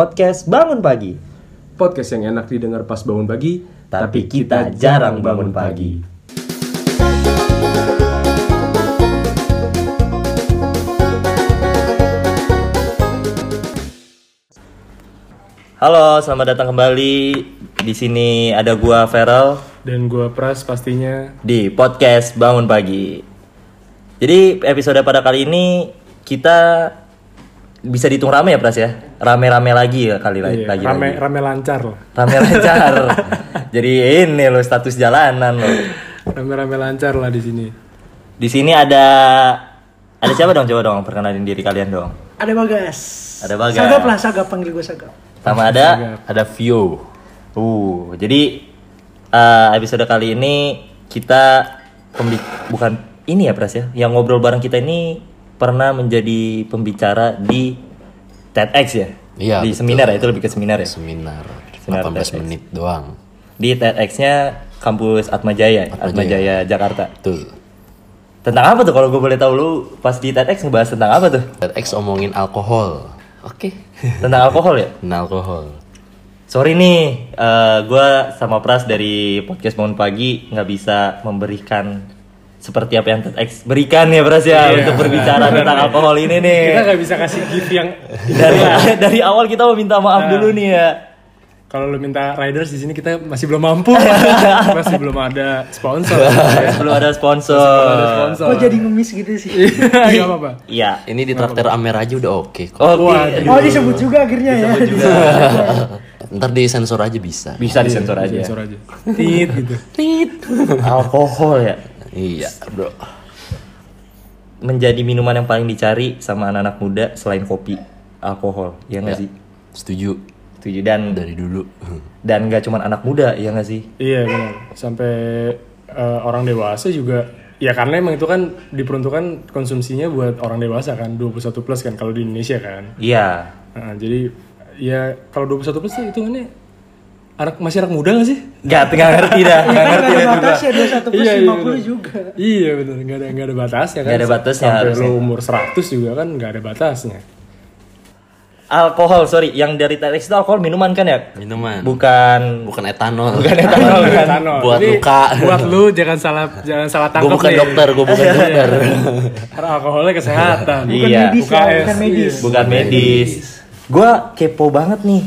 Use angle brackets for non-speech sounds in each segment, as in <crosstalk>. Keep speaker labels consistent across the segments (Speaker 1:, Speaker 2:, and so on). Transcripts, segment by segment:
Speaker 1: Podcast Bangun Pagi.
Speaker 2: Podcast yang enak didengar pas bangun pagi,
Speaker 1: Tapi kita jarang bangun pagi. Halo, selamat datang kembali. Di sini ada gua Feral
Speaker 2: Dan gua Pras pastinya.
Speaker 1: di podcast Bangun Pagi. Jadi episode pada kali ini kita bisa dihitung rame ya Pras ya? Rame-rame lagi ya kali lagi.
Speaker 2: Iya,
Speaker 1: lagi.
Speaker 2: rame rame lancar lah.
Speaker 1: rame
Speaker 3: <laughs>
Speaker 1: lancar. Jadi ini lo status jalanan lo.
Speaker 2: Rame-rame lancar lah di sini.
Speaker 1: Di sini ada ada siapa dong coba dong perkenalin diri kalian dong.
Speaker 4: Ada Bagas.
Speaker 1: Ada Bagas.
Speaker 4: Sagap lah, Sagap panggil gue Sagap.
Speaker 1: Sama ada ada Vio. Uh, jadi eh, episode kali ini kita pembi- bukan ini ya Pras ya. Yang ngobrol bareng kita ini pernah menjadi pembicara di TEDx ya.
Speaker 3: Iya,
Speaker 1: di
Speaker 3: betul.
Speaker 1: seminar ya, itu lebih ke seminar ya.
Speaker 3: seminar,
Speaker 1: Seminar
Speaker 3: 18 menit doang.
Speaker 1: Di TEDx-nya kampus Atma Jaya, Atma Jaya Jakarta.
Speaker 3: Betul.
Speaker 1: Tentang apa tuh kalau gue boleh tahu lu pas di TEDx ngebahas tentang apa
Speaker 2: <laughs>
Speaker 1: tuh?
Speaker 3: TEDx omongin alkohol. Oke.
Speaker 1: Tentang alkohol ya?
Speaker 3: <laughs> Nah, alkohol.
Speaker 1: Sorry nih, eh, gua gue sama Pras dari podcast Bangun Pagi nggak bisa memberikan seperti apa yang TEDx berikan ya Pras ya untuk berbicara
Speaker 2: <laughs>
Speaker 1: tentang alkohol ini nih.
Speaker 2: Iya. Kita nggak bisa kasih gift yang
Speaker 1: <laughs> Dari dari awal kita mau minta
Speaker 2: Nah.
Speaker 1: maaf dulu nih ya.
Speaker 2: kalau lu minta riders di sini kita masih belum
Speaker 1: <laughs>
Speaker 2: mampu. masih belum ada sponsor.
Speaker 1: Belum ada
Speaker 2: Iya. Belum ada
Speaker 1: <laughs> sponsor.
Speaker 2: sponsor.
Speaker 4: Kok
Speaker 2: <laughs>
Speaker 4: jadi ngemis gitu sih?
Speaker 2: Gak apa-apa.
Speaker 1: Iya.
Speaker 3: Ini di traktir Amer aja udah oke kok.
Speaker 1: Oke.
Speaker 4: Oh disebut juga akhirnya ya.
Speaker 3: Ntar disensor aja bisa.
Speaker 1: Bisa disensor aja.
Speaker 2: Sponsor aja. Tit gitu.
Speaker 1: Alkohol ya
Speaker 3: Iya, Bro.
Speaker 1: menjadi minuman yang paling dicari sama anak-anak muda selain kopi, alkohol. Ya nggak
Speaker 2: Iya.
Speaker 1: sih?
Speaker 3: Setuju
Speaker 1: Setuju dan
Speaker 3: dari dulu.
Speaker 1: dan nggak cuma anak muda ya nggak sih?
Speaker 2: Iya benar. Sampai eh, orang dewasa juga ya karena emang itu kan diperuntukkan konsumsinya buat orang dewasa kan 21 plus kan kalau di Indonesia kan.
Speaker 1: Iya.
Speaker 2: Nah, jadi ya kalau 21 plus tuh hitungannya anak masih anak muda gak sih?
Speaker 1: Gak, gak ngerti dah, gak
Speaker 3: <laughs>
Speaker 4: Karena
Speaker 1: ngerti dah
Speaker 4: ada
Speaker 1: Iya, juga.
Speaker 4: batasnya 21 plus
Speaker 2: Iya, iya,
Speaker 4: 50
Speaker 2: bener.
Speaker 4: juga.
Speaker 2: Iya benar, nggak ada nggak ada batasnya kan.
Speaker 1: Nggak ada batasnya
Speaker 2: Sampai
Speaker 1: harusnya.
Speaker 2: lu umur 100 juga kan nggak ada batasnya.
Speaker 1: Alkohol, sorry, yang dari TX itu alkohol minuman kan ya?
Speaker 3: Minuman.
Speaker 1: Bukan
Speaker 3: bukan etanol.
Speaker 1: bukan
Speaker 3: <laughs>
Speaker 1: etanol kan?
Speaker 2: Tano,
Speaker 3: Buat
Speaker 2: jadi
Speaker 3: luka.
Speaker 2: Buat lu jangan salah jangan salah
Speaker 3: Gue
Speaker 2: tangkap Iya.
Speaker 3: bukan
Speaker 2: nih.
Speaker 3: dokter, gue
Speaker 1: <laughs>
Speaker 3: bukan dokter.
Speaker 2: Karena alkoholnya kesehatan.
Speaker 1: Iya.
Speaker 4: Bukan medis ya,
Speaker 2: UKS.
Speaker 4: bukan medis.
Speaker 1: Bukan medis. Gua kepo banget nih.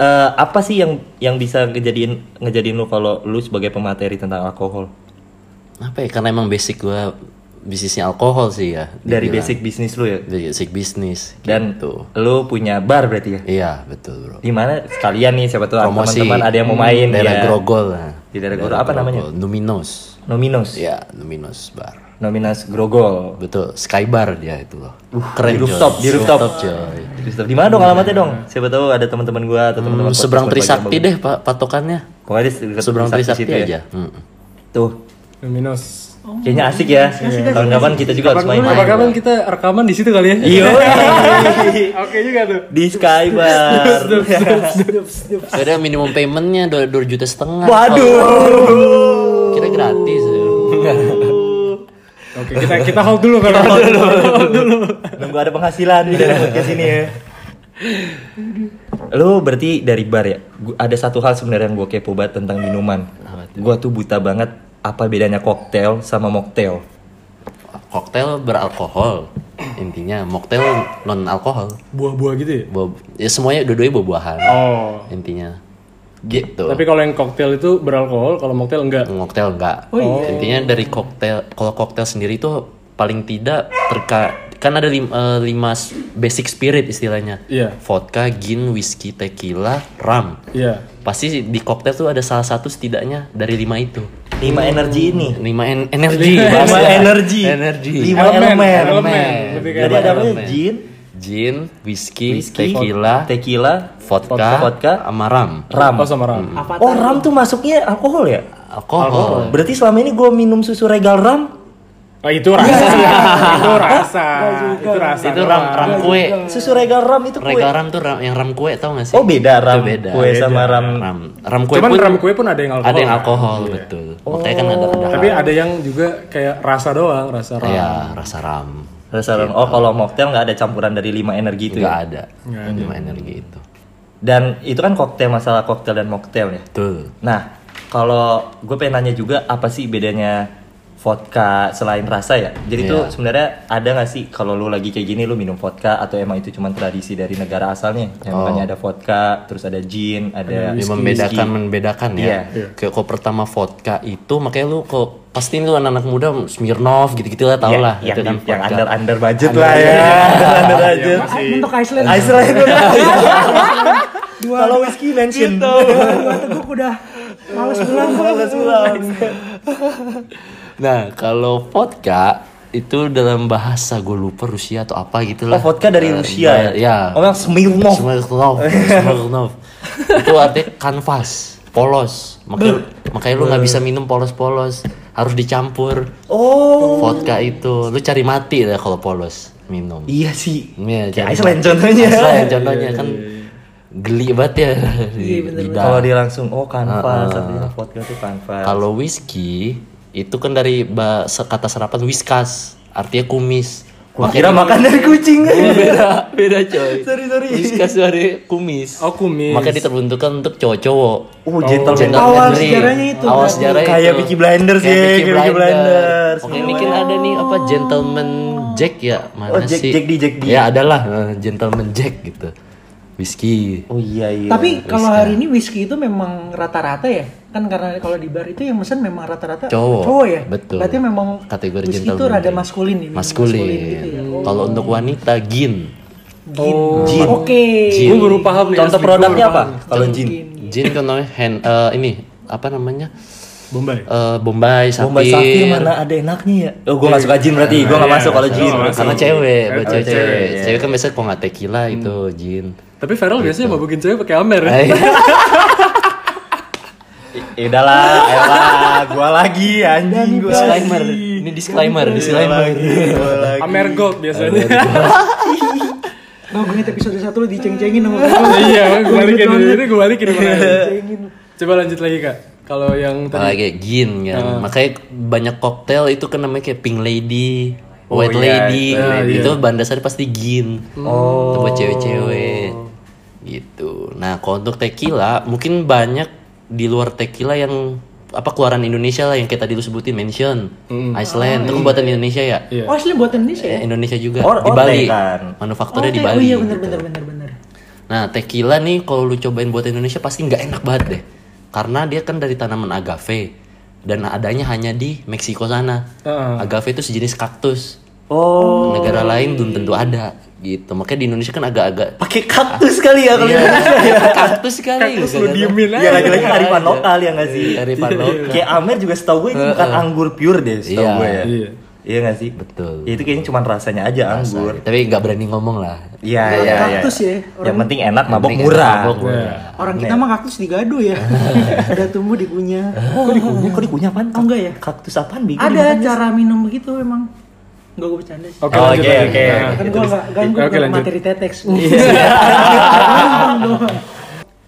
Speaker 1: Eh, apa sih yang yang bisa ngejadiin ngejadiin lu kalau lu sebagai pemateri tentang alkohol?
Speaker 3: Apa ya? Karena emang basic gue bisnisnya alkohol sih ya.
Speaker 1: Dari
Speaker 3: dibilang.
Speaker 1: basic bisnis lu ya.
Speaker 3: basic bisnis.
Speaker 1: Dan
Speaker 3: gitu.
Speaker 1: lu punya bar berarti ya?
Speaker 3: Iya, betul, Bro.
Speaker 1: Di mana sekalian nih siapa tahu
Speaker 3: promosi Hmm,
Speaker 1: teman-teman ada yang mau main
Speaker 3: daerah
Speaker 1: ya.
Speaker 3: Grogol lah.
Speaker 1: Di daerah Grogol, apa namanya?
Speaker 3: Numinos
Speaker 1: Nominos.
Speaker 3: ya Numinos Bar
Speaker 1: Nominas Grogol.
Speaker 3: betul Sky Bar dia itu loh keren
Speaker 1: Uh, di rooftop,
Speaker 3: coy.
Speaker 1: di rooftop.
Speaker 3: coy
Speaker 1: Terus di mana dong alamatnya dong? Siapa tahu ada teman-teman gua atau
Speaker 3: Hmm,
Speaker 1: teman-teman
Speaker 3: seberang
Speaker 1: podcast gua
Speaker 3: Trisakti
Speaker 1: yang bagus.
Speaker 3: deh pak patokannya
Speaker 1: Pokoknya di dekat
Speaker 3: seberang Trisakti
Speaker 1: situ ya.
Speaker 3: aja Hmm.
Speaker 1: Tuh,
Speaker 2: Minus.
Speaker 1: kayaknya asik
Speaker 2: iya,
Speaker 1: ya. Tahun kapan kita juga harus main.
Speaker 2: Kapan kapan kita rekaman di situ kali ya?
Speaker 1: Iya.
Speaker 2: <laughs> Oke juga tuh.
Speaker 1: Di Skybar.
Speaker 3: ada minimum paymentnya dua dua juta setengah
Speaker 1: Waduh.
Speaker 3: Kalau kita gratis ya.
Speaker 2: Oke, kita kita hold dulu kalau
Speaker 1: Nunggu ada penghasilan di dalam podcast ini ya. Lu berarti dari bar ya? Gua- ada satu hal sebenarnya yang gue kepo banget tentang minuman. Gue tuh buta banget apa bedanya koktail sama mocktail.
Speaker 3: koktail beralkohol intinya mocktail non alkohol
Speaker 2: buah-buah gitu ya.
Speaker 3: Buah- ya semuanya dua-duanya buah-buahan
Speaker 2: Oh.
Speaker 3: intinya gitu
Speaker 2: Tapi kalau yang koktail itu beralkohol, kalau mocktail enggak.
Speaker 3: Koktail enggak.
Speaker 1: Oh, iya.
Speaker 3: Intinya dari koktail, kalau koktail sendiri itu paling tidak terka kan ada lim- eh, lima, s- basic spirit istilahnya.
Speaker 2: Iya.
Speaker 3: Vodka, gin, whisky, tequila, rum.
Speaker 2: Iya.
Speaker 3: Pasti di koktail tuh ada salah satu setidaknya dari lima itu.
Speaker 1: Lima energi ini.
Speaker 3: Lima en- energi,
Speaker 1: Lima
Speaker 3: bahasa.
Speaker 1: energi.
Speaker 3: Energi.
Speaker 1: Lima elemen.
Speaker 2: Elemen. Lebih kayak
Speaker 1: Jadi ada apa?
Speaker 3: elemen.
Speaker 1: Jin,
Speaker 3: Gin, whisky,
Speaker 1: Whisky,
Speaker 3: tequila,
Speaker 1: tequila,
Speaker 3: vodka,
Speaker 1: Vodka.
Speaker 3: sama rum.
Speaker 1: ram.
Speaker 2: Oh, sama ram.
Speaker 1: Oh ram tuh masuknya alkohol ya?
Speaker 3: Alkohol.
Speaker 1: Berarti selama ini gue minum susu regal ram
Speaker 2: Oh, itu rasa. itu rasa. itu rasa.
Speaker 3: Itu rum, rum kue.
Speaker 1: Susu regal ram itu kue
Speaker 3: Regal ram tuh ram- yang ram kue tau gak sih?
Speaker 1: Oh beda ram
Speaker 3: Itu beda.
Speaker 1: kue sama ram
Speaker 3: ram ram kue
Speaker 2: Cuman
Speaker 3: pun
Speaker 2: ram kue pun ada yang alkohol. Iya.
Speaker 3: ada yang alkohol
Speaker 1: Oh.
Speaker 3: betul makanya kan ada ada Iya.
Speaker 2: Tapi ada yang juga kayak rasa doang, rasa ram.
Speaker 3: ya rasa ram
Speaker 1: Restoran. Oh, kalau mocktail nggak ada campuran dari lima energi itu
Speaker 3: nggak
Speaker 1: ya.
Speaker 3: ada
Speaker 2: Nggak
Speaker 3: lima energi itu
Speaker 1: Dan itu kan koktail masalah koktail dan mocktail ya.
Speaker 3: betul
Speaker 1: Nah, kalau gue pengen nanya juga apa sih bedanya vodka selain rasa ya? Jadi tuh
Speaker 3: Iya.
Speaker 1: sebenarnya ada nggak sih kalau lu lagi kayak gini lu minum vodka atau emang itu cuma tradisi dari negara asalnya? Yang
Speaker 3: Oh.
Speaker 1: makanya ada vodka, terus ada gin, ada
Speaker 3: Ya,
Speaker 1: whisky.
Speaker 3: membedakan membedakan ya.
Speaker 1: Iya.
Speaker 3: Kayak kalau pertama vodka itu makanya lu kok pasti lu anak-anak muda Smirnoff gitu-gitu lah tau
Speaker 1: Iya,
Speaker 3: lah
Speaker 1: yang,
Speaker 3: gitu kan
Speaker 1: yang
Speaker 3: vodka.
Speaker 1: under under budget lah ya. under <laughs> under budget.
Speaker 4: Ah, Mentok Iceland.
Speaker 1: Iceland gue
Speaker 4: Dua
Speaker 1: iya, Kalau
Speaker 4: dua-
Speaker 1: whisky mention.
Speaker 4: dua teguk udah males pulang.
Speaker 1: Males pulang.
Speaker 3: Nah kalau vodka itu dalam bahasa gue lupa Rusia atau apa gitu
Speaker 1: <laughs>
Speaker 3: lah.
Speaker 1: Oh, vodka dari
Speaker 3: Eh,
Speaker 1: Rusia ya?
Speaker 3: Ya.
Speaker 1: Oh, yang Smirnoff.
Speaker 3: Smirnoff.
Speaker 1: <laughs>
Speaker 3: Smirnoff. itu artinya kanvas, polos. Makanya, makanya lu nggak bisa minum polos-polos, harus dicampur.
Speaker 1: Oh.
Speaker 3: Vodka itu, lu cari mati dah kalau polos minum.
Speaker 1: Iya sih.
Speaker 3: Iya,
Speaker 1: Kayak
Speaker 3: cari
Speaker 1: Iceland
Speaker 3: mati.
Speaker 1: contohnya. Iya,
Speaker 3: Iceland contohnya kan geli banget ya di lidah.
Speaker 1: Kalau dia langsung oh kanvas,
Speaker 3: Heeh.
Speaker 1: artinya vodka tuh kanvas.
Speaker 3: Iya. Ah, Kalau whisky itu kan dari bahasa kata serapan whiskas, artinya kumis.
Speaker 1: Gua kira makan dari kucing.
Speaker 3: beda, <laughs> beda coy.
Speaker 1: Sorry, sorry.
Speaker 3: Whiskas dari kumis.
Speaker 2: Oh, kumis.
Speaker 3: Makanya diterbentukkan untuk cowok-cowok.
Speaker 1: Oh, gentleman.
Speaker 3: Gentleman
Speaker 4: Awal
Speaker 3: drink.
Speaker 4: sejarahnya itu,
Speaker 3: Awal
Speaker 4: berarti.
Speaker 3: sejarah
Speaker 1: Kayak Peaky Blinders ya, kayak Peaky Blinders.
Speaker 3: Oke, ini kan ada nih apa gentleman Jack ya? Mana
Speaker 1: Oh, Jack-
Speaker 3: sih?
Speaker 1: Jack D, Jack D.
Speaker 3: Ya, adalah eh, gentleman Jack gitu. Whisky.
Speaker 1: Oh iya iya.
Speaker 4: Tapi kalau hari ini whisky itu memang rata-rata ya? Kan karena kalau di bar itu yang mesen memang rata-rata
Speaker 3: cowok.
Speaker 4: ya?
Speaker 3: Betul.
Speaker 4: Berarti memang
Speaker 3: kategori
Speaker 4: whisky itu
Speaker 3: gentleman
Speaker 4: rada
Speaker 3: drink.
Speaker 4: maskulin ya?
Speaker 3: Maskulin.
Speaker 4: gitu ya.
Speaker 3: Kalau untuk wanita gin.
Speaker 2: Oh.
Speaker 4: Gin. Oke.
Speaker 3: Gin.
Speaker 2: Gue baru paham nih.
Speaker 1: contoh
Speaker 2: asli, gua
Speaker 1: produknya
Speaker 2: baru
Speaker 1: apa?
Speaker 2: paham.
Speaker 1: Kalau jin.
Speaker 3: Gin contohnya hand eh, ini apa namanya?
Speaker 2: Bombay.
Speaker 3: Eh, Bombay sapir.
Speaker 1: Bombay Sapphire mana ada enaknya ya? Iya. Oh, gue gak suka jin berarti. Gue gak masuk kalau jin. Eh, iya.
Speaker 2: nggak masuk.
Speaker 3: Karena cewek, buat
Speaker 2: Oh,
Speaker 3: cewek.
Speaker 2: cewek,
Speaker 3: Cewek, kan biasanya kalau nggak tequila itu <laughs> gin.
Speaker 2: Tapi Feral biasanya mabukin cewek pakai amer. ya?
Speaker 3: Eh,
Speaker 1: Ya udahlah, ayolah. Gue lagi anjing gue.
Speaker 3: disclaimer. Ini disclaimer, disclaimer.
Speaker 2: Amer gold biasanya.
Speaker 4: Ngomongin episode satu lu diceng-cengin sama
Speaker 2: <laughs> Iya, gue balikin
Speaker 4: Lanjut, lanjut.
Speaker 2: ini, gue balikin
Speaker 1: Iya.
Speaker 2: kemarin.
Speaker 4: Diceng-cengin.
Speaker 2: Coba lanjut lagi kak. Kalau yang
Speaker 3: Kalau
Speaker 2: tadi
Speaker 3: kayak gin kan. Makanya banyak koktail itu kan namanya kayak pink lady,
Speaker 1: Oh,
Speaker 3: white
Speaker 1: iya,
Speaker 3: lady. Nah,
Speaker 2: iya, iya.
Speaker 3: Itu bahan dasarnya pasti gin. Oh. buat cewek-cewek. Gitu. Nah, kalau untuk tequila mungkin banyak di luar tequila yang apa keluaran Indonesia lah yang kita dulu sebutin mention Iceland itu buatan Indonesia ya
Speaker 2: Iya.
Speaker 4: Oh asli buatan Indonesia ya?
Speaker 3: Eh, Indonesia juga
Speaker 1: Or-
Speaker 3: di
Speaker 1: Orte
Speaker 3: Bali
Speaker 1: kan.
Speaker 3: manufakturnya di
Speaker 4: Oh,
Speaker 3: Bali
Speaker 4: iya
Speaker 3: gitu.
Speaker 4: bener-bener bener-bener.
Speaker 3: Nah, tequila nih kalau lu cobain buat Indonesia pasti nggak enak banget deh. Karena dia kan dari tanaman agave dan adanya hanya di Meksiko sana.
Speaker 2: Heeh.
Speaker 3: Agave itu sejenis kaktus.
Speaker 1: Oh,
Speaker 3: Negara lain belum tentu ada gitu. Makanya di Indonesia kan agak-agag
Speaker 2: <laughs>
Speaker 1: pakai kaktus kali ya kalau.
Speaker 3: Iya, kaktus sekali.
Speaker 2: Kaktus lu diemin
Speaker 1: Iya
Speaker 2: aja.
Speaker 1: lagi-lagi karifan lokal ya nggak sih?
Speaker 3: Karifan lokal.
Speaker 1: Kayak Amer juga setahu gue itu bukan anggur pure deh setahu
Speaker 3: Iya.
Speaker 1: gue ya.
Speaker 2: Iya.
Speaker 1: Iya nggak sih?
Speaker 3: Betul.
Speaker 1: Ya, itu kayaknya cuma rasanya aja anggur.
Speaker 3: Tapi nggak berani ngomong lah.
Speaker 1: Iya
Speaker 4: Orang
Speaker 1: iya iya.
Speaker 4: kaktus ya, orang-
Speaker 1: Yang penting enak mabok
Speaker 3: Mending
Speaker 1: murah.
Speaker 3: mabok murah.
Speaker 2: Iya.
Speaker 4: Orang kita mah kaktus digado ya. Ada tumbuh dikunyah.
Speaker 1: Kok dikunyah? Kok dikunyah apaan?
Speaker 4: Oh, enggak ya?
Speaker 1: Kaktus apaan? Bigo
Speaker 4: Ada
Speaker 1: dimakannya?
Speaker 4: cara minum begitu emang. Enggak gue bercanda sih.
Speaker 2: Oke
Speaker 1: Oh,
Speaker 2: lanjut
Speaker 1: oke,
Speaker 2: lagi.
Speaker 1: oke.
Speaker 2: Nah,
Speaker 4: Kan gue enggak ganggu
Speaker 2: Oke,
Speaker 4: ke
Speaker 2: lanjut.
Speaker 4: materi E tetex.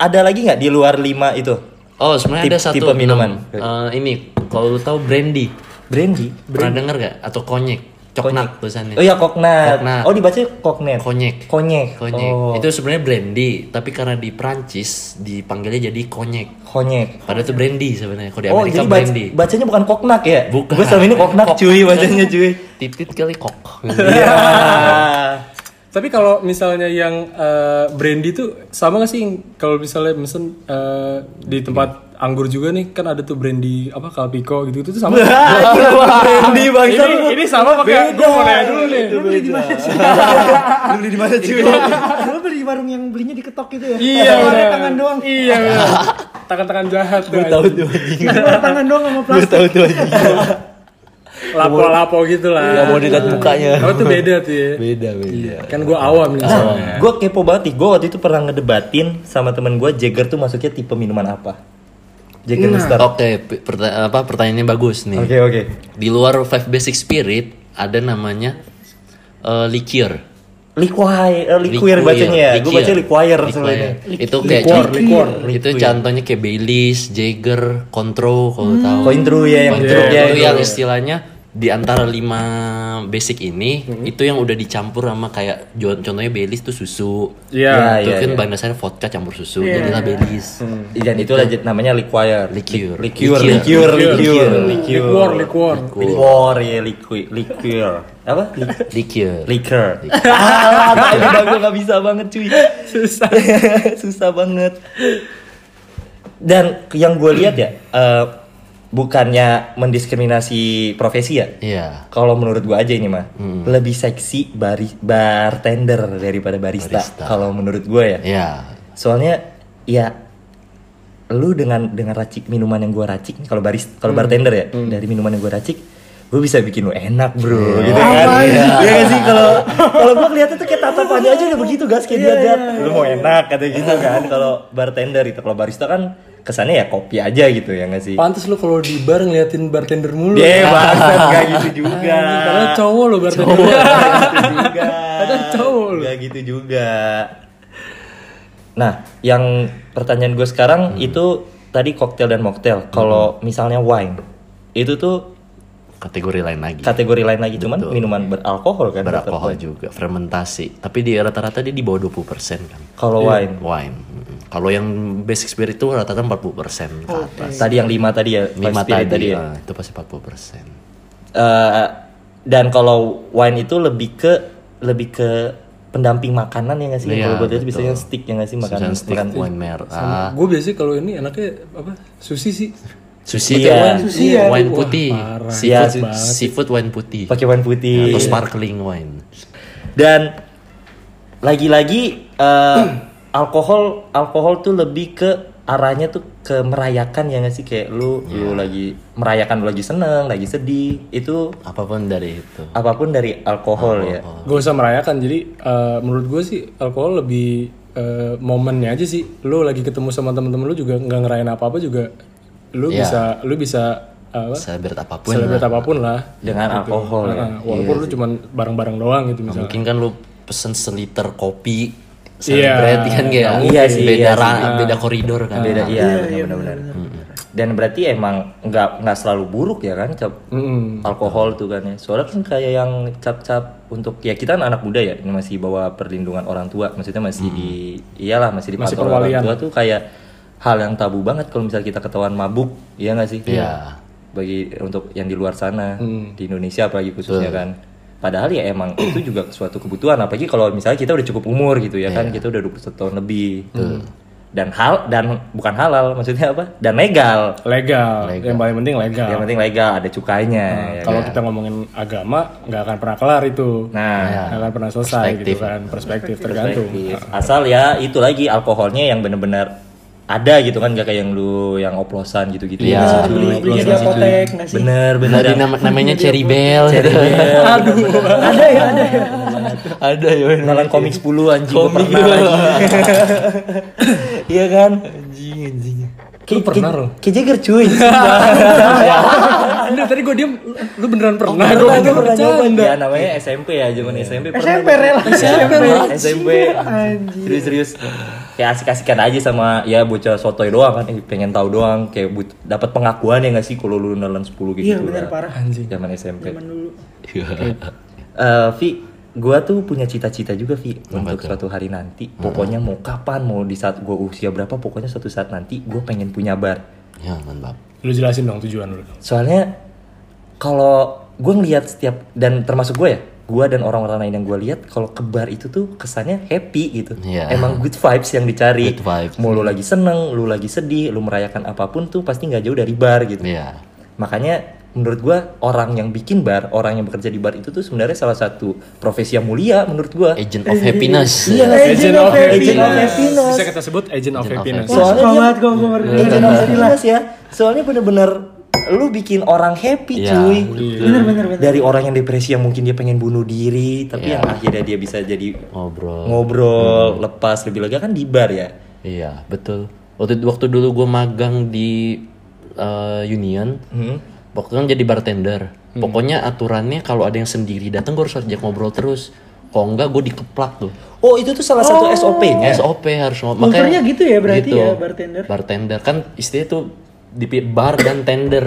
Speaker 1: Ada lagi nggak di luar lima itu?
Speaker 3: Oh, sebenarnya
Speaker 1: Tip-
Speaker 3: ada satu
Speaker 1: tipe minuman.
Speaker 3: Eh, ini kalau lu tahu brandy,
Speaker 1: Brandy.
Speaker 3: pernah denger gak? Atau konyek? Coknak
Speaker 1: Oh
Speaker 3: tulisannya.
Speaker 1: iya koknat.
Speaker 3: Koknat.
Speaker 1: Oh dibacanya koknet.
Speaker 3: Konyek.
Speaker 1: Konyek.
Speaker 3: Konyek.
Speaker 1: Oh.
Speaker 3: Itu sebenarnya brandy, tapi karena di Prancis dipanggilnya jadi konyek.
Speaker 1: konyek.
Speaker 3: Padahal itu brandy sebenarnya. Kalau di
Speaker 1: Oh jadi bac-
Speaker 3: Amerika Iya, brandy.
Speaker 1: bacanya bukan koknak ya?
Speaker 3: Bukan.
Speaker 1: Gue selama ini koknak cuy bacanya cuy.
Speaker 3: Titit kali kok.
Speaker 1: Iya.
Speaker 2: Tapi kalau misalnya yang eh, brandy tuh sama gak sih yang- kalau misalnya mesen eh, di tempat anggur juga nih kan ada tuh brandy apa kalpiko gitu itu sama.
Speaker 1: <laughs> Brandy bangsa.
Speaker 2: ini, ini sama pakai gue mau nanya dulu nih.
Speaker 4: Lu beli di mana
Speaker 2: <laughs>
Speaker 4: sih?
Speaker 1: Lu beli di mana cuy?
Speaker 4: Lu beli di warung yang belinya diketok gitu ya?
Speaker 2: Iya.
Speaker 4: Keluarnya
Speaker 2: bener.
Speaker 4: tangan doang.
Speaker 2: Iya. bener. Tangan-tangan jahat.
Speaker 1: Gue
Speaker 2: tuh,
Speaker 1: <laughs> tahu tuh anjing.
Speaker 4: Keluar tangan doang sama
Speaker 1: Gue
Speaker 4: plastik.
Speaker 1: tahu tuh anjing.
Speaker 2: Lapo-lapo gitu lah.
Speaker 3: Gak mau dilihat mukanya.
Speaker 2: Kalau itu beda tuh ya.
Speaker 3: Beda Ah. beda.
Speaker 2: Kan gue awam nih soalnya.
Speaker 1: Gue Iya. kepo banget nih. Gue waktu itu pernah ngedebatin sama temen gue Jagger tuh masuknya tipe minuman apa? Jagger Mister. Oke
Speaker 3: Oke, p- perta- apa pertanyaannya bagus nih.
Speaker 1: oke.
Speaker 3: Di luar Five Basic Spirit ada namanya eh, liqueur.
Speaker 1: Liquire, eh, liquir
Speaker 3: Liqueur,
Speaker 1: bacanya ya. Gue
Speaker 3: liqueur.
Speaker 1: baca liquire
Speaker 3: Liqueur.
Speaker 1: sebenarnya.
Speaker 3: Itu kayak
Speaker 2: Liqueur,
Speaker 3: con-
Speaker 2: liqueur.
Speaker 3: Itu contohnya kayak Baileys, Jaeger, Cointreau kalau tahu.
Speaker 1: Cointreau ya yang
Speaker 3: Cointreau
Speaker 1: jeruk ya
Speaker 3: itu
Speaker 1: itu.
Speaker 3: Iya, yang istilahnya di antara lima basic ini itu yang udah dicampur sama kayak jo- contohnya Baileys tuh susu.
Speaker 2: Iya.
Speaker 3: itu
Speaker 1: Iya,
Speaker 3: kan
Speaker 1: iya.
Speaker 3: bahan dasarnya vodka campur susu,
Speaker 4: Iya.
Speaker 3: jadilah Baileys.
Speaker 1: Dan itu aja namanya liquire.
Speaker 3: Liqueur.
Speaker 1: Liqueur,
Speaker 3: Liqueur.
Speaker 1: liqueur,
Speaker 3: Liqueur.
Speaker 1: liqueur,
Speaker 2: Liquor, liquor.
Speaker 1: Liqueur, ya liquid, liqueur. Apa?
Speaker 3: Liqueur.
Speaker 1: Liquor. Ah, tai lidah gua nggak bisa banget cuy. Susah. <laughs> Susah banget. Dan yang gue lihat ya, eh, bukannya mendiskriminasi profesi ya.
Speaker 3: Iya.
Speaker 1: Kalau menurut gue aja ini mah lebih seksi bari- bartender daripada barista.
Speaker 3: Barista.
Speaker 1: Kalau menurut gue ya.
Speaker 3: Iya.
Speaker 1: Soalnya ya lu dengan dengan racik minuman yang gua racik nih, kalau baris kalau bartender ya dari minuman yang gua racik gue bisa bikin lu enak bro gitu kan Iya nggak sih kalau kalau gua kelihatan tuh kayak tatapannya aja udah begitu gas kayak dia lihat lu mau enak kata gitu kan kalau bartender itu kalau barista kan kesannya ya kopi aja gitu ya nggak sih
Speaker 2: Pantes lu kalau di bar ngeliatin bartender mulu.
Speaker 1: dia bangsat <laughs> nggak gitu juga
Speaker 2: Karena cowok lo bartender. <laughs>
Speaker 1: gitu juga.
Speaker 2: Ada cowok lu.
Speaker 1: Gak gitu juga. Nah, yang pertanyaan gue sekarang
Speaker 3: Hmm.
Speaker 1: itu tadi koktail dan mocktail. Kalau misalnya wine, itu tuh
Speaker 3: Kategori lain lagi.
Speaker 1: kategori lain lagi cuman minuman beralkohol kan.
Speaker 3: Beralkohol
Speaker 1: tetap.
Speaker 3: juga, fermentasi. Tapi di rata-rata dia di bawah 20% kan.
Speaker 1: Kalau wine,
Speaker 3: Wine. Mm. Kalau yang basic spirit itu rata-rata 40% ke atas.
Speaker 1: tadi yang lima tadi ya,
Speaker 3: Lima
Speaker 1: white Oh, spirit
Speaker 3: tadi,
Speaker 1: ya.
Speaker 3: ah, itu pasti 40%.
Speaker 1: Eh, dan kalau wine itu lebih ke lebih ke pendamping makanan ya nggak sih?
Speaker 3: Iya,
Speaker 1: kalau buat itu
Speaker 3: betul.
Speaker 1: biasanya stick ya nggak sih makanan?
Speaker 3: Susan stick,
Speaker 1: makanan-
Speaker 3: wine merah,
Speaker 2: Gue biasanya kalau ini enaknya apa? Sushi sih.
Speaker 3: sushi
Speaker 1: Iya.
Speaker 3: kan,
Speaker 4: Sushi ya.
Speaker 3: wine
Speaker 2: Wah,
Speaker 3: putih,
Speaker 2: parah.
Speaker 3: seafood,
Speaker 1: Iya,
Speaker 3: seafood wine putih,
Speaker 1: Pakai iya. wine putih.
Speaker 3: atau sparkling wine.
Speaker 1: dan lagi-lagi <clears throat> eh, alkohol alkohol tuh lebih ke arahnya tuh ke merayakan ya nggak sih kayak lu lu lagi merayakan lu lagi seneng lagi sedih itu
Speaker 3: Apapun dari itu.
Speaker 1: apapun dari alkohol, ya
Speaker 2: Gue usah merayakan. Jadi eh, menurut gue sih alkohol lebih eh, momennya aja sih. Lo lagi ketemu sama temen-temen lo juga nggak ngerayain apa-apa juga. Lo
Speaker 3: Iya.
Speaker 2: bisa, lo bisa apa?
Speaker 3: Celebrate apapun.
Speaker 2: Celebrate
Speaker 3: lah. Iya.
Speaker 2: apapun lah.
Speaker 1: dengan alkohol ya.
Speaker 2: Nah, walaupun lu cuman bareng-bareng doang gitu misalnya.
Speaker 3: Mungkin kan lu pesen seliter kopi, celebrate
Speaker 2: Iya.
Speaker 3: kan kayak
Speaker 1: Iya sih,
Speaker 3: beda
Speaker 1: iya sih.
Speaker 3: ra- beda koridor kan.
Speaker 1: beda iya benar benar dan berarti emang nggak nggak selalu buruk ya kan cap
Speaker 2: Hmm.
Speaker 1: alkohol tuh kan ya soalnya kan kayak yang cap-cap untuk ya kita anak muda ya ini masih bawa perlindungan orang tua maksudnya masih di iyalah masih
Speaker 2: Hmm. Masih
Speaker 1: dipantau orang
Speaker 2: perwalian.
Speaker 1: tua tuh kayak hal yang tabu banget kalau misalnya kita ketahuan mabuk iya nggak sih
Speaker 3: Iya.
Speaker 1: bagi untuk yang di luar sana
Speaker 2: Hmm.
Speaker 1: di Indonesia apalagi khususnya kan padahal ya emang <clears throat> itu juga suatu kebutuhan apalagi kalau misalnya kita udah cukup umur gitu ya
Speaker 2: Iya.
Speaker 1: kan kita udah 21 tahun lebih Hmm. dan hal dan bukan halal maksudnya apa dan legal
Speaker 2: Legal. yang paling penting legal.
Speaker 1: yang penting legal ada cukainya ya
Speaker 2: Ah. Kalau kita ngomongin agama nggak akan pernah kelar itu,
Speaker 1: kan? nah
Speaker 2: nggak akan pernah selesai gitu kan perspektif, tergantung.
Speaker 1: Perspektif. Asal ya itu lagi alkoholnya yang benar-benar ada gitu kan gak kayak yang lu yang oplosan gitu-gitu.
Speaker 3: Iya.
Speaker 1: Ya,
Speaker 4: beli
Speaker 1: gitu.
Speaker 4: beli di apotek nggak sih
Speaker 1: Bener bener.
Speaker 3: Dari
Speaker 1: <laughs>
Speaker 3: nama- namanya
Speaker 1: Iya,
Speaker 3: Cherry Bell. <laughs>
Speaker 1: Aduh.
Speaker 4: ada ya ada ya
Speaker 3: Ada
Speaker 1: iya.
Speaker 3: ya. bener.
Speaker 1: Kenalan komik 10 anjing gua
Speaker 3: Komik
Speaker 1: pernah.
Speaker 3: gua.
Speaker 1: anjing. Iya kan?
Speaker 3: Anjing anjing.
Speaker 1: Kayak
Speaker 2: pernah, Ro?
Speaker 1: Kayak Jagger cuy.
Speaker 2: Anda tadi gue diem, lu beneran pernah?
Speaker 1: Pernah,
Speaker 2: Gue
Speaker 1: Oh, gua
Speaker 2: beneran
Speaker 1: pernah
Speaker 2: bercanda.
Speaker 1: nyoba. Ya namanya SMP ya, zaman SMP. pernah.
Speaker 4: SMP rela SMP
Speaker 1: SMP serius-serius kayak asik-asikan aja sama ya bocah sotoy doang kan Eh, pengen tahu doang kayak but- dapat pengakuan ya nggak sih kalau lu nelan 10 gitu
Speaker 4: iya benar
Speaker 1: lah.
Speaker 4: parah
Speaker 2: Anjing.
Speaker 1: zaman SMP
Speaker 4: Zaman dulu
Speaker 1: Eh, Vi gua tuh punya cita-cita juga Vi untuk suatu hari nanti pokoknya mau kapan mau di saat gua usia berapa pokoknya suatu saat nanti gua pengen punya bar
Speaker 3: <laughs> Ya mantap.
Speaker 2: Lu jelasin dong tujuan lu.
Speaker 1: soalnya kalau gue ngelihat setiap dan termasuk gue ya gue dan orang-orang lain yang gue lihat kalau ke bar itu tuh kesannya happy gitu
Speaker 3: Iya.
Speaker 1: emang good vibes yang dicari
Speaker 3: Good vibes.
Speaker 1: mau lu lagi seneng lu lagi sedih lu merayakan apapun tuh pasti nggak jauh dari bar gitu
Speaker 3: Iya.
Speaker 1: makanya menurut gue orang yang bikin bar orang yang bekerja di bar itu tuh sebenarnya salah satu profesi yang mulia menurut gue
Speaker 3: Agent of happiness.
Speaker 1: Iya,
Speaker 4: Agent of
Speaker 1: Agent of
Speaker 4: Happiness.
Speaker 1: happiness.
Speaker 2: Bisa kita sebut agent of
Speaker 3: Agent of
Speaker 2: happiness.
Speaker 3: happiness.
Speaker 1: Soalnya
Speaker 4: Suka
Speaker 1: dia-
Speaker 4: banget gua- gua baru dengar.
Speaker 1: Agent of happiness ya soalnya bener-bener lu bikin orang happy
Speaker 3: Iya.
Speaker 1: cuy
Speaker 4: bener bener bener
Speaker 1: dari orang yang depresi yang mungkin dia pengen bunuh diri tapi yang akhirnya dia bisa jadi
Speaker 3: Ngobrol.
Speaker 1: ngobrol lepas lebih lega kan di bar ya
Speaker 3: Iya, betul. Waktu waktu dulu gue magang di eh, Union,
Speaker 4: Hmm.
Speaker 3: pokoknya jadi bartender. Pokoknya aturannya kalau ada yang sendiri datang gue harus ajak ngobrol terus. Kalau enggak gue dikeplak tuh.
Speaker 1: oh itu tuh salah satu SOP-nya
Speaker 3: SOP harus
Speaker 4: Iya.
Speaker 3: ngobrol.
Speaker 4: Kulturnya gitu ya berarti ya, bartender?
Speaker 3: Bartender kan istilahnya tuh di bar dan tender.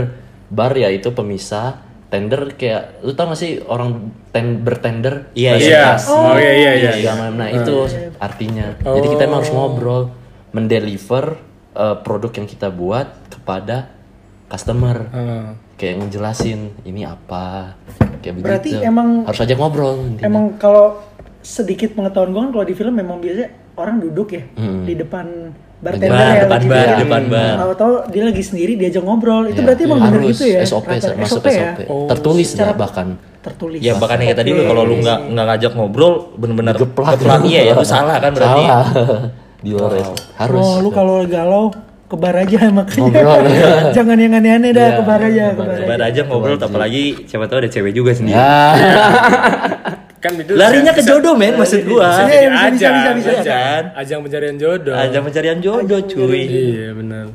Speaker 3: Bar ya itu pemisah, tender kayak lu tau gak sih orang ten, bertender
Speaker 2: Iya.
Speaker 3: Bahasa
Speaker 2: Iya.
Speaker 3: kasar,
Speaker 2: Oh, iya, iya, iya,
Speaker 3: segala macam. nah itu artinya jadi kita emang harus ngobrol mendeliver eh, produk yang kita buat kepada customer
Speaker 2: Heeh.
Speaker 3: kayak ngejelasin ini apa kayak
Speaker 4: Berarti
Speaker 3: begitu
Speaker 4: emang-
Speaker 3: harus aja ngobrol intinya.
Speaker 4: Emang kalau sedikit pengetahuan gue kan kalau di film memang biasanya orang duduk ya di depan bartender
Speaker 1: Bar,
Speaker 4: ya,
Speaker 1: depan
Speaker 4: lagi
Speaker 1: bar,
Speaker 4: duduk.
Speaker 1: depan bar.
Speaker 4: Atau dia lagi sendiri diajak ngobrol. Itu
Speaker 3: Iya,
Speaker 4: berarti emang bener
Speaker 3: harus
Speaker 4: gitu ya.
Speaker 3: SOP
Speaker 4: rata-
Speaker 3: masuk
Speaker 4: SOP, ya.
Speaker 3: SOP tertulis
Speaker 4: Secara-
Speaker 3: nggak Oh, bahkan
Speaker 4: Tertulis.
Speaker 1: Ya bahkan yang kayak tadi
Speaker 4: Oke.
Speaker 1: lu kalau lu
Speaker 3: Iya.
Speaker 1: nggak nggak ngajak ngobrol bener-bener
Speaker 3: Geplak.
Speaker 1: iya ya itu salah kan berarti.
Speaker 3: salah <laughs> di luar SOP. harus
Speaker 4: Wah, Oh, lu kalau galau ke bar aja <laughs> makanya.
Speaker 3: Ngobrol, ya.
Speaker 4: Jangan yang aneh-aneh dah
Speaker 3: Iya,
Speaker 4: ke bar aja, ke bar
Speaker 1: Coba
Speaker 4: aja.
Speaker 1: aja ngobrol apalagi siapa tahu ada cewek juga sendiri.
Speaker 3: ya
Speaker 2: kan itu
Speaker 1: Larinya ke
Speaker 2: bisa-
Speaker 1: jodoh men maksud gua.
Speaker 2: Jadi
Speaker 4: Iya, bisa, bisa,
Speaker 2: ajang,
Speaker 4: bisa, bisa,
Speaker 1: bisa.
Speaker 2: ajang. Ajang pencarian jodoh.
Speaker 1: Ajang pencarian jodoh cuy.
Speaker 2: Iya benar.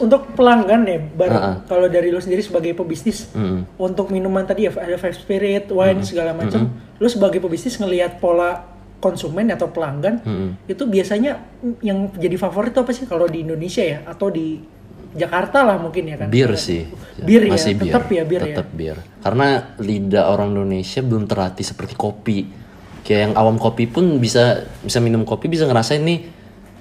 Speaker 4: Untuk pelanggan ya, bar
Speaker 3: Heeh.
Speaker 4: kalau dari lu sendiri sebagai pebisnis,
Speaker 3: Mm.
Speaker 4: untuk minuman tadi ya ada five spirit, wine segala macam. Lu sebagai pebisnis ngelihat pola konsumen atau pelanggan
Speaker 3: Mm-mm.
Speaker 4: itu biasanya yang jadi favorit tuh apa sih kalau di Indonesia ya atau di Jakarta lah mungkin ya kan?
Speaker 3: bir sih
Speaker 4: Bir ya,
Speaker 3: masih bir
Speaker 4: tetap ya bir
Speaker 3: tetap
Speaker 4: ya.
Speaker 3: bir karena lidah orang Indonesia belum terlatih seperti kopi kayak yang awam kopi pun bisa bisa minum kopi bisa ngerasain nih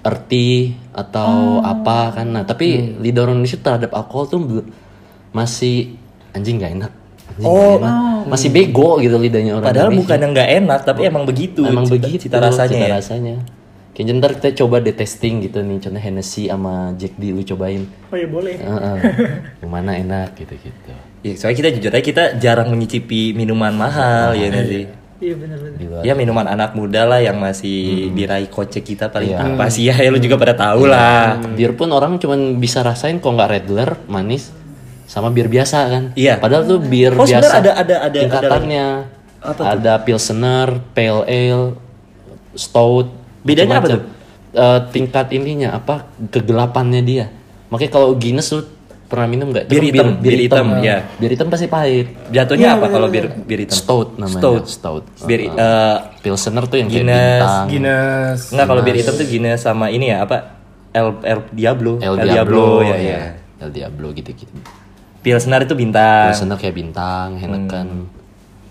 Speaker 3: erti
Speaker 1: Hmm.
Speaker 3: atau apa kan nah tapi lidah orang Indonesia terhadap alkohol tuh belum masih anjing gak enak anjing nggak
Speaker 1: Oh.
Speaker 3: enak." masih bego gitu lidahnya orang
Speaker 1: Padahal
Speaker 3: Indonesia.
Speaker 1: bukan yang nggak enak tapi emang begitu.
Speaker 3: Emang
Speaker 1: cita-
Speaker 3: begitu
Speaker 1: Cita rasanya
Speaker 3: cita
Speaker 1: ya.
Speaker 3: rasanya. Kayaknya ntar kita coba deh testing gitu nih, contohnya Hennessy sama Jack D lu cobain.
Speaker 4: Oh ya boleh.
Speaker 3: Heeh.
Speaker 1: <laughs>
Speaker 3: yang mana enak gitu-gitu.
Speaker 1: Ya, soalnya kita jujur aja kita jarang menyicipi minuman mahal ya nggak sih.
Speaker 4: Iya benar-benar.
Speaker 3: Di luar.
Speaker 1: Ya minuman anak muda lah yang
Speaker 3: Hmm.
Speaker 1: masih diraih kocek kita paling
Speaker 3: Iya.
Speaker 1: apa sih ya, ya lu juga pada tahu lah.
Speaker 3: Bir pun orang cuman bisa rasain kok nggak regular manis sama bir biasa kan.
Speaker 1: Iya.
Speaker 3: Padahal tuh bir
Speaker 1: Oh, sebenarnya
Speaker 3: biasa
Speaker 1: ada- ada- ada- ada
Speaker 3: tingkatannya. Ada pilsener, pale ale, stout.
Speaker 1: Bedanya apa
Speaker 3: macam-macam. Eh, tingkat ininya apa kegelapannya dia. Makanya kalau Guinness tuh pernah minum nggak? Itu
Speaker 1: Bir
Speaker 3: kan
Speaker 1: hitam, bir hitam, iya.
Speaker 3: Bir hitam pasti pahit. Iya,
Speaker 1: Jatuhnya apa kalau bir bir hitam?
Speaker 3: Stout namanya.
Speaker 1: Stout.
Speaker 3: Stout.
Speaker 1: Bir
Speaker 3: Eh,
Speaker 1: eh,
Speaker 3: pilsener tuh yang kayak
Speaker 1: Guinness,
Speaker 3: bintang.
Speaker 2: Guinness.
Speaker 1: Enggak kalau bir hitam tuh gini sama ini ya apa El, El Diablo.
Speaker 3: El Diablo,
Speaker 1: ya,
Speaker 3: iya.
Speaker 1: ya.
Speaker 3: El Diablo gitu-gitu.
Speaker 1: Pilsner itu bintang.
Speaker 3: Pilsener kayak bintang,
Speaker 1: hmm.
Speaker 3: Heineken.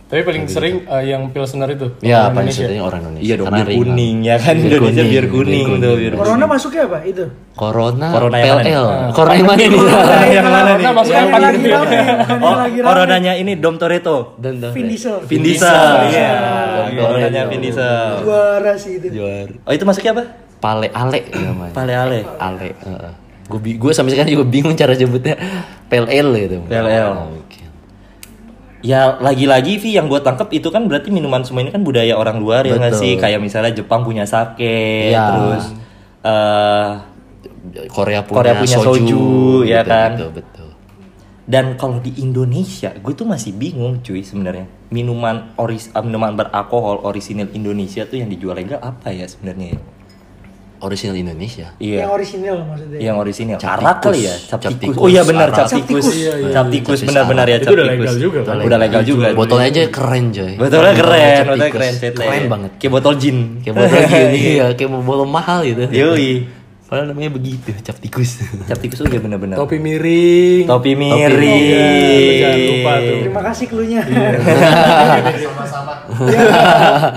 Speaker 2: Tapi paling sering eh, yang pilsener itu. Orang
Speaker 3: Ya, paling
Speaker 2: Indonesia.
Speaker 3: seringnya orang Indonesia.
Speaker 1: Iya dong,
Speaker 3: Karena
Speaker 1: bir
Speaker 3: ringan.
Speaker 1: kuning ya kan Indonesia bir kuning, tuh bir kuning.
Speaker 4: Corona masuknya apa itu?
Speaker 3: Corona,
Speaker 1: Corona yang mana Ah.
Speaker 3: PLL. Corona yang mana
Speaker 1: <laughs>
Speaker 3: nih?
Speaker 2: Iya, yang mana nih?
Speaker 4: Masuknya
Speaker 2: Yang mana
Speaker 4: lagi
Speaker 2: nih?
Speaker 4: rame, bukan yang
Speaker 1: Oh,
Speaker 4: lagi rame.
Speaker 1: coronanya ini Dom Toretto.
Speaker 3: Dan dan-
Speaker 4: Vin Diesel.
Speaker 1: Vin Diesel. Iya. Coronanya Vin Diesel.
Speaker 4: Juara sih itu.
Speaker 1: Oh, itu masuknya apa?
Speaker 3: Pale Ale ya, namanya.
Speaker 1: Pale Ale.
Speaker 3: Ale. Gue gue sampai sekarang juga bingung cara nyebutnya PLL itu.
Speaker 1: PLL.
Speaker 3: Oke.
Speaker 1: Ya lagi-lagi Vi yang gue tangkep itu kan berarti minuman semua ini kan budaya orang luar ya nggak sih kayak misalnya Jepang punya sake
Speaker 3: Iya.
Speaker 1: terus eh
Speaker 3: Korea punya,
Speaker 1: Korea punya soju, ya
Speaker 3: Betul,
Speaker 1: kan?
Speaker 3: Betul, betul.
Speaker 1: dan kalau di Indonesia gue tuh masih bingung cuy sebenarnya minuman oris eh, minuman beralkohol orisinil Indonesia tuh yang dijual legal apa ya sebenarnya ya?
Speaker 3: Original Indonesia.
Speaker 1: Iya
Speaker 4: Yang orisinil maksudnya.
Speaker 1: yang orisinil
Speaker 3: Cap
Speaker 1: Arak kali
Speaker 3: tikus.
Speaker 1: ya cap
Speaker 3: Cap
Speaker 1: tikus
Speaker 3: tikus.
Speaker 1: oh iya benar
Speaker 3: Arak.
Speaker 1: cap tikus
Speaker 4: Cap tikus.
Speaker 2: Iya, iya.
Speaker 1: cap tikus benar-benar ya
Speaker 2: Itu
Speaker 1: cap
Speaker 2: udah
Speaker 1: tikus.
Speaker 2: legal juga kan?
Speaker 1: udah legal juga
Speaker 3: Botolnya aja keren coy.
Speaker 1: botolnya keren
Speaker 3: Cap
Speaker 1: botolnya
Speaker 3: tikus.
Speaker 1: keren ceritanya.
Speaker 3: Keren banget.
Speaker 1: kayak botol Iya. jin
Speaker 3: Kayak
Speaker 1: <laughs>
Speaker 3: botol gini ya, kayak botol mahal gitu.
Speaker 1: Yoi.
Speaker 3: Padahal namanya begitu, cap
Speaker 1: <laughs>
Speaker 3: tikus.
Speaker 1: cap tikus tuh iya benar-benar
Speaker 2: Topi miring.
Speaker 1: Topi
Speaker 2: miring. Jangan lupa tuh.
Speaker 1: <laughs>
Speaker 4: Terima
Speaker 1: Iya.
Speaker 4: kasih cluenya.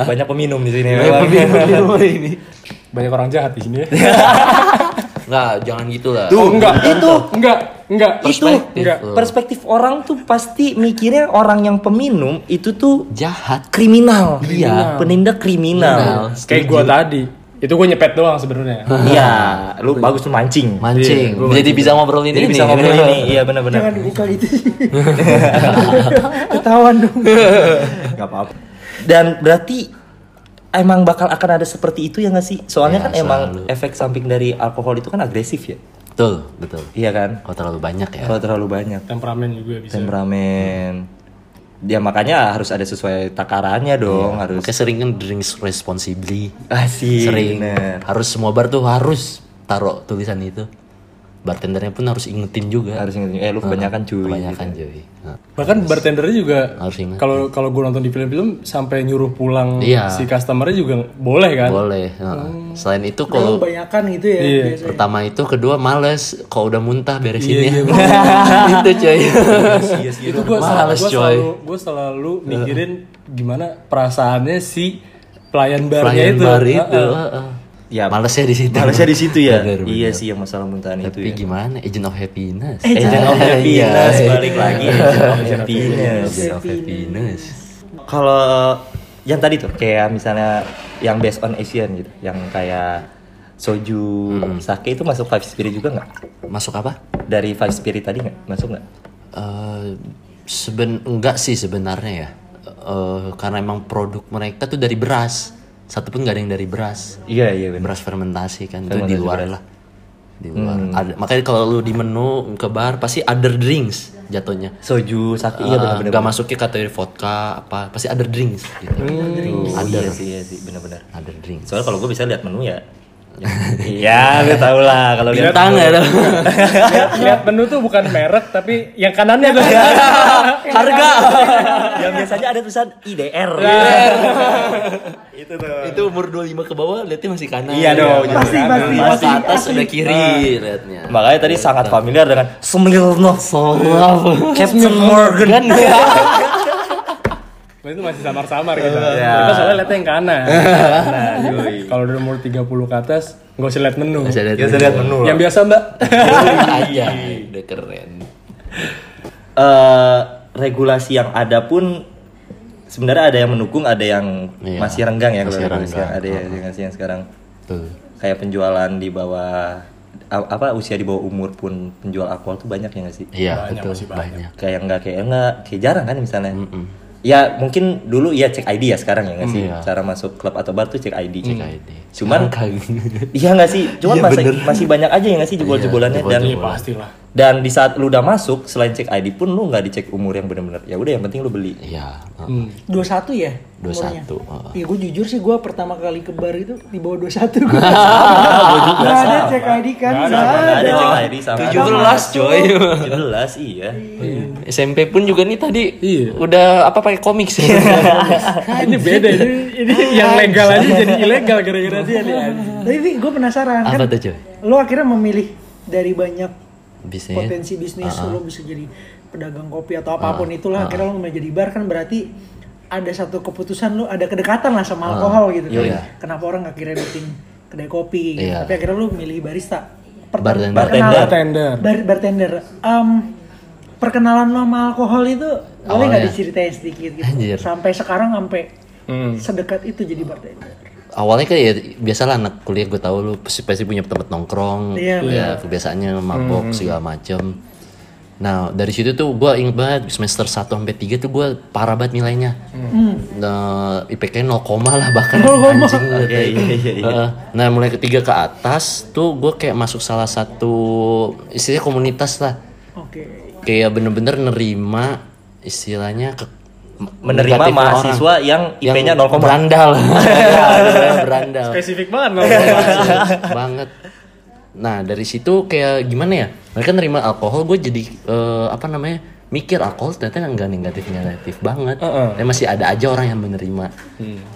Speaker 1: Banyak peminum di sini. memang.
Speaker 3: ini.
Speaker 2: Banyak orang jahat di sini. ya.
Speaker 3: Nah, jangan gitu lah.
Speaker 2: Oh, enggak.
Speaker 1: itu.
Speaker 2: Enggak, enggak.
Speaker 1: Itu
Speaker 3: Perspektif Hmm.
Speaker 2: Enggak.
Speaker 3: lu.
Speaker 1: perspektif orang tuh pasti mikirnya orang yang peminum itu tuh
Speaker 3: jahat.
Speaker 1: kriminal.
Speaker 3: Iya.
Speaker 1: Penindak kriminal.
Speaker 2: Kayak gua tadi. Itu gua nyepet doang sebenarnya.
Speaker 1: Iya, lu bagus tuh mancing.
Speaker 2: Iya,
Speaker 3: Mancing.
Speaker 2: gua
Speaker 3: Jadi bisa ngobrol ini.
Speaker 1: Jadi bisa ngobrol
Speaker 3: <laughs>
Speaker 1: ini, iya benar-benar.
Speaker 4: <laughs> Jangan
Speaker 1: <laughs>
Speaker 4: dibuka gitu sih. Ketahuan dong.
Speaker 1: Gak apa-apa. Dan berarti emang bakal akan ada seperti itu ya nggak sih? Soalnya
Speaker 3: Ya,
Speaker 1: kan emang
Speaker 3: selalu.
Speaker 1: efek samping dari alkohol itu kan agresif ya.
Speaker 3: Betul, betul.
Speaker 1: Iya kan?
Speaker 3: Kalau terlalu banyak ya.
Speaker 1: Kalau terlalu banyak.
Speaker 2: Temperamen juga bisa.
Speaker 1: temperamen dia makanya harus ada sesuai takarannya dong harus
Speaker 3: Makanya sering kan drinks responsibly.
Speaker 1: asik
Speaker 3: Sering.
Speaker 1: Iya, bener.
Speaker 3: Harus semua bar tuh harus taruh tulisan itu. bartendernya pun harus ingetin juga
Speaker 1: Harus ingetin, eh lu kebanyakan cuy.
Speaker 3: kebanyakan
Speaker 1: iya.
Speaker 3: cuy Nah,
Speaker 2: Bahkan bartendernya juga
Speaker 3: harus ingat
Speaker 2: kalau kalau gue nonton di film-film sampai nyuruh pulang
Speaker 3: Iya.
Speaker 2: si customernya juga boleh kan?
Speaker 3: boleh nah,
Speaker 1: Hmm.
Speaker 3: selain itu
Speaker 4: Kalau
Speaker 3: kalau
Speaker 4: kebanyakan gitu ya
Speaker 2: Iya.
Speaker 4: biasanya.
Speaker 3: pertama itu kedua males kalau udah muntah
Speaker 2: Iya,
Speaker 3: <laughs> beresinnya
Speaker 2: iya,
Speaker 3: itu cuy
Speaker 1: Iya, <laughs>
Speaker 2: itu gue selalu
Speaker 3: Males,
Speaker 2: gue
Speaker 3: coy.
Speaker 2: selalu gue selalu mikirin gimana perasaannya si pelayan barnya
Speaker 3: Pelayan
Speaker 2: itu.
Speaker 3: bar itu
Speaker 2: Heeh.
Speaker 3: heeh.
Speaker 1: Ya,
Speaker 3: malesnya di situ
Speaker 1: Malesnya di situ ya.
Speaker 3: Bener, bener.
Speaker 1: Iya sih yang masalah muntahan itu.
Speaker 3: tapi
Speaker 1: Ya. Eh,
Speaker 3: gimana agent of happiness Iya,
Speaker 1: Agent of happiness balik lagi. Agent of Iya. happiness.
Speaker 3: agent of happiness
Speaker 1: Kalau yang tadi tuh kayak misalnya yang based on Asian gitu, yang kayak soju, sake itu masuk five spirit juga nggak?
Speaker 3: masuk apa
Speaker 1: Dari five spirit tadi nggak masuk nggak?
Speaker 3: Eh, seben enggak sih sebenarnya ya Eh, karena emang produk mereka tuh dari beras satu pun gak ada yang dari beras
Speaker 1: Iya iya benar.
Speaker 3: beras fermentasi kan itu
Speaker 1: Fermentasi
Speaker 3: di luar
Speaker 1: beras.
Speaker 3: lah di luar
Speaker 1: Hmm.
Speaker 3: Ada- makanya kalau lu di menu ke bar pasti other drinks jatuhnya
Speaker 1: Soju, sake iya
Speaker 3: Eh,
Speaker 1: benar-benar.
Speaker 3: nggak masuknya kategori vodka apa pasti other drinks gitu
Speaker 1: Oh, iya sih iya sih benar-benar.
Speaker 3: other drinks
Speaker 1: Soalnya kalau gue bisa lihat menu ya. <laughs> Iya, lu tau lah kalau lihat
Speaker 3: Bintang ya
Speaker 1: menu.
Speaker 3: dong.
Speaker 1: <laughs>
Speaker 2: Lihat- Lihat menu tuh bukan merek tapi yang kanannya tuh. ya.
Speaker 3: <laughs>
Speaker 1: harga <laughs> Iya. yang biasanya ada tulisan IDR <laughs> itu tuh
Speaker 3: itu umur 25 ke bawah liatnya masih kanan
Speaker 1: Iya dong,
Speaker 3: Iya,
Speaker 4: pasti, pasti,
Speaker 3: kanan. Pas
Speaker 4: pasti,
Speaker 3: ke atas
Speaker 4: pasti.
Speaker 3: udah kiri
Speaker 1: Ah.
Speaker 3: liatnya
Speaker 1: makanya tadi sangat familiar dengan Smirnoff
Speaker 3: Solaf
Speaker 1: Captain Morgan <laughs>
Speaker 2: itu masih samar-samar gitu.
Speaker 1: Iya.
Speaker 2: Kita soalnya lihatnya yang kanan.
Speaker 3: <laughs>
Speaker 2: Nah, <laughs> kalau udah umur 30 ke atas nggak usah lihat menu.
Speaker 3: Masih ada
Speaker 1: ya saya lihat menu
Speaker 2: Yang
Speaker 1: lah <laughs>
Speaker 2: biasa Mbak.
Speaker 1: Iya,
Speaker 3: aja udah keren
Speaker 1: Eh, regulasi yang ada pun sebenarnya ada yang mendukung ada yang
Speaker 3: Iya.
Speaker 1: masih renggang ya kalau
Speaker 3: Masih
Speaker 1: regulasi
Speaker 3: renggang.
Speaker 1: yang ada ya regulasi yang sekarang
Speaker 3: tuh
Speaker 1: kayak penjualan di bawah a- apa usia di bawah umur pun penjual alkohol tuh banyak ya nggak sih
Speaker 3: iya betul banyak
Speaker 1: kayak nggak kayak nggak kayak jarang kan misalnya ya mungkin dulu ya cek ID ya sekarang ya nggak sih
Speaker 3: Iya.
Speaker 1: cara masuk klub atau bar tuh cek ID
Speaker 3: Cek ID.
Speaker 1: Hmm. cuman
Speaker 3: Sekarang
Speaker 1: iya nggak sih cuman
Speaker 3: Iya,
Speaker 1: masih
Speaker 3: bener. Iya,
Speaker 1: masih banyak aja ya nggak sih jebol-jebolannya dan
Speaker 3: jebol-jebolan.
Speaker 2: Pastilah.
Speaker 1: dan di saat lu udah masuk selain cek ID pun lu nggak dicek umur yang bener-bener ya udah yang penting lu beli
Speaker 3: <laughs> iya
Speaker 1: Hmm.
Speaker 4: 21 ya?
Speaker 3: 21, heeh.
Speaker 4: Iya gue jujur sih gue pertama kali ke bar itu di
Speaker 1: <laughs>
Speaker 4: bawah 21 Gua Gak ada cek ID kan? Gak
Speaker 1: Nggak ada
Speaker 4: ada
Speaker 1: cek ID sama
Speaker 3: 17 coy
Speaker 1: 17 iya
Speaker 3: SMP pun juga nih tadi
Speaker 2: Iya.
Speaker 3: udah apa pakai komik sih
Speaker 1: Iya.
Speaker 2: Ini beda ini, ini
Speaker 4: Ah,
Speaker 2: yang legal aja jadi ilegal gara-gara dia nih.
Speaker 4: Tapi gue penasaran
Speaker 3: <laughs>
Speaker 1: Ah.
Speaker 3: apa
Speaker 4: kan
Speaker 3: tuh coy
Speaker 4: Lo akhirnya memilih dari banyak
Speaker 3: bisnis
Speaker 4: potensi bisnis lo bisa jadi pedagang kopi atau apapun itulah akhirnya lo mau jadi bar kan berarti ada satu keputusan lo ada kedekatan lah sama alkohol gitu kan.
Speaker 3: Iya.
Speaker 4: Kenapa orang nggak kira bikin kedai kopi? gitu.
Speaker 3: Iya.
Speaker 4: Tapi akhirnya lo milih barista.
Speaker 3: Bartender.
Speaker 4: perkenalan-
Speaker 2: Bartender.
Speaker 4: Bar- bartender. Em, perkenalan lo sama alkohol itu boleh nggak
Speaker 3: Awalnya.
Speaker 4: diceritain sedikit gitu?
Speaker 3: Anjir.
Speaker 4: Sampai sekarang sampai
Speaker 2: Hmm.
Speaker 4: sedekat itu jadi bartender.
Speaker 3: awalnya kayak ya, biasalah anak kuliah gue tahu lu pasti, pasti punya tempat nongkrong
Speaker 4: Iya,
Speaker 3: ya kebiasaannya mabok segala macem nah dari situ tuh gue inget banget semester 1 sampai 3 tuh gue parah banget nilainya
Speaker 1: Hmm.
Speaker 3: nah, IPK 0 koma lah bahkan anjing gitu.
Speaker 1: Iya, iya, iya, iya.
Speaker 3: Heeh. nah mulai ketiga ke atas tuh gue kayak masuk salah satu istilahnya komunitas lah
Speaker 4: Oke.
Speaker 3: kayak bener-bener nerima istilahnya ke
Speaker 1: menerima
Speaker 3: negatifnya
Speaker 1: mahasiswa yang
Speaker 3: yang
Speaker 1: IP-nya 0,
Speaker 3: berandal
Speaker 1: <laughs>
Speaker 3: Iya, berandal
Speaker 2: Spesifik banget loh.
Speaker 3: Iya, banget nah dari situ kayak gimana ya mereka nerima alkohol gue jadi eh, apa namanya mikir alkohol ternyata nggak negatif negatif banget Tapi masih ada aja orang yang menerima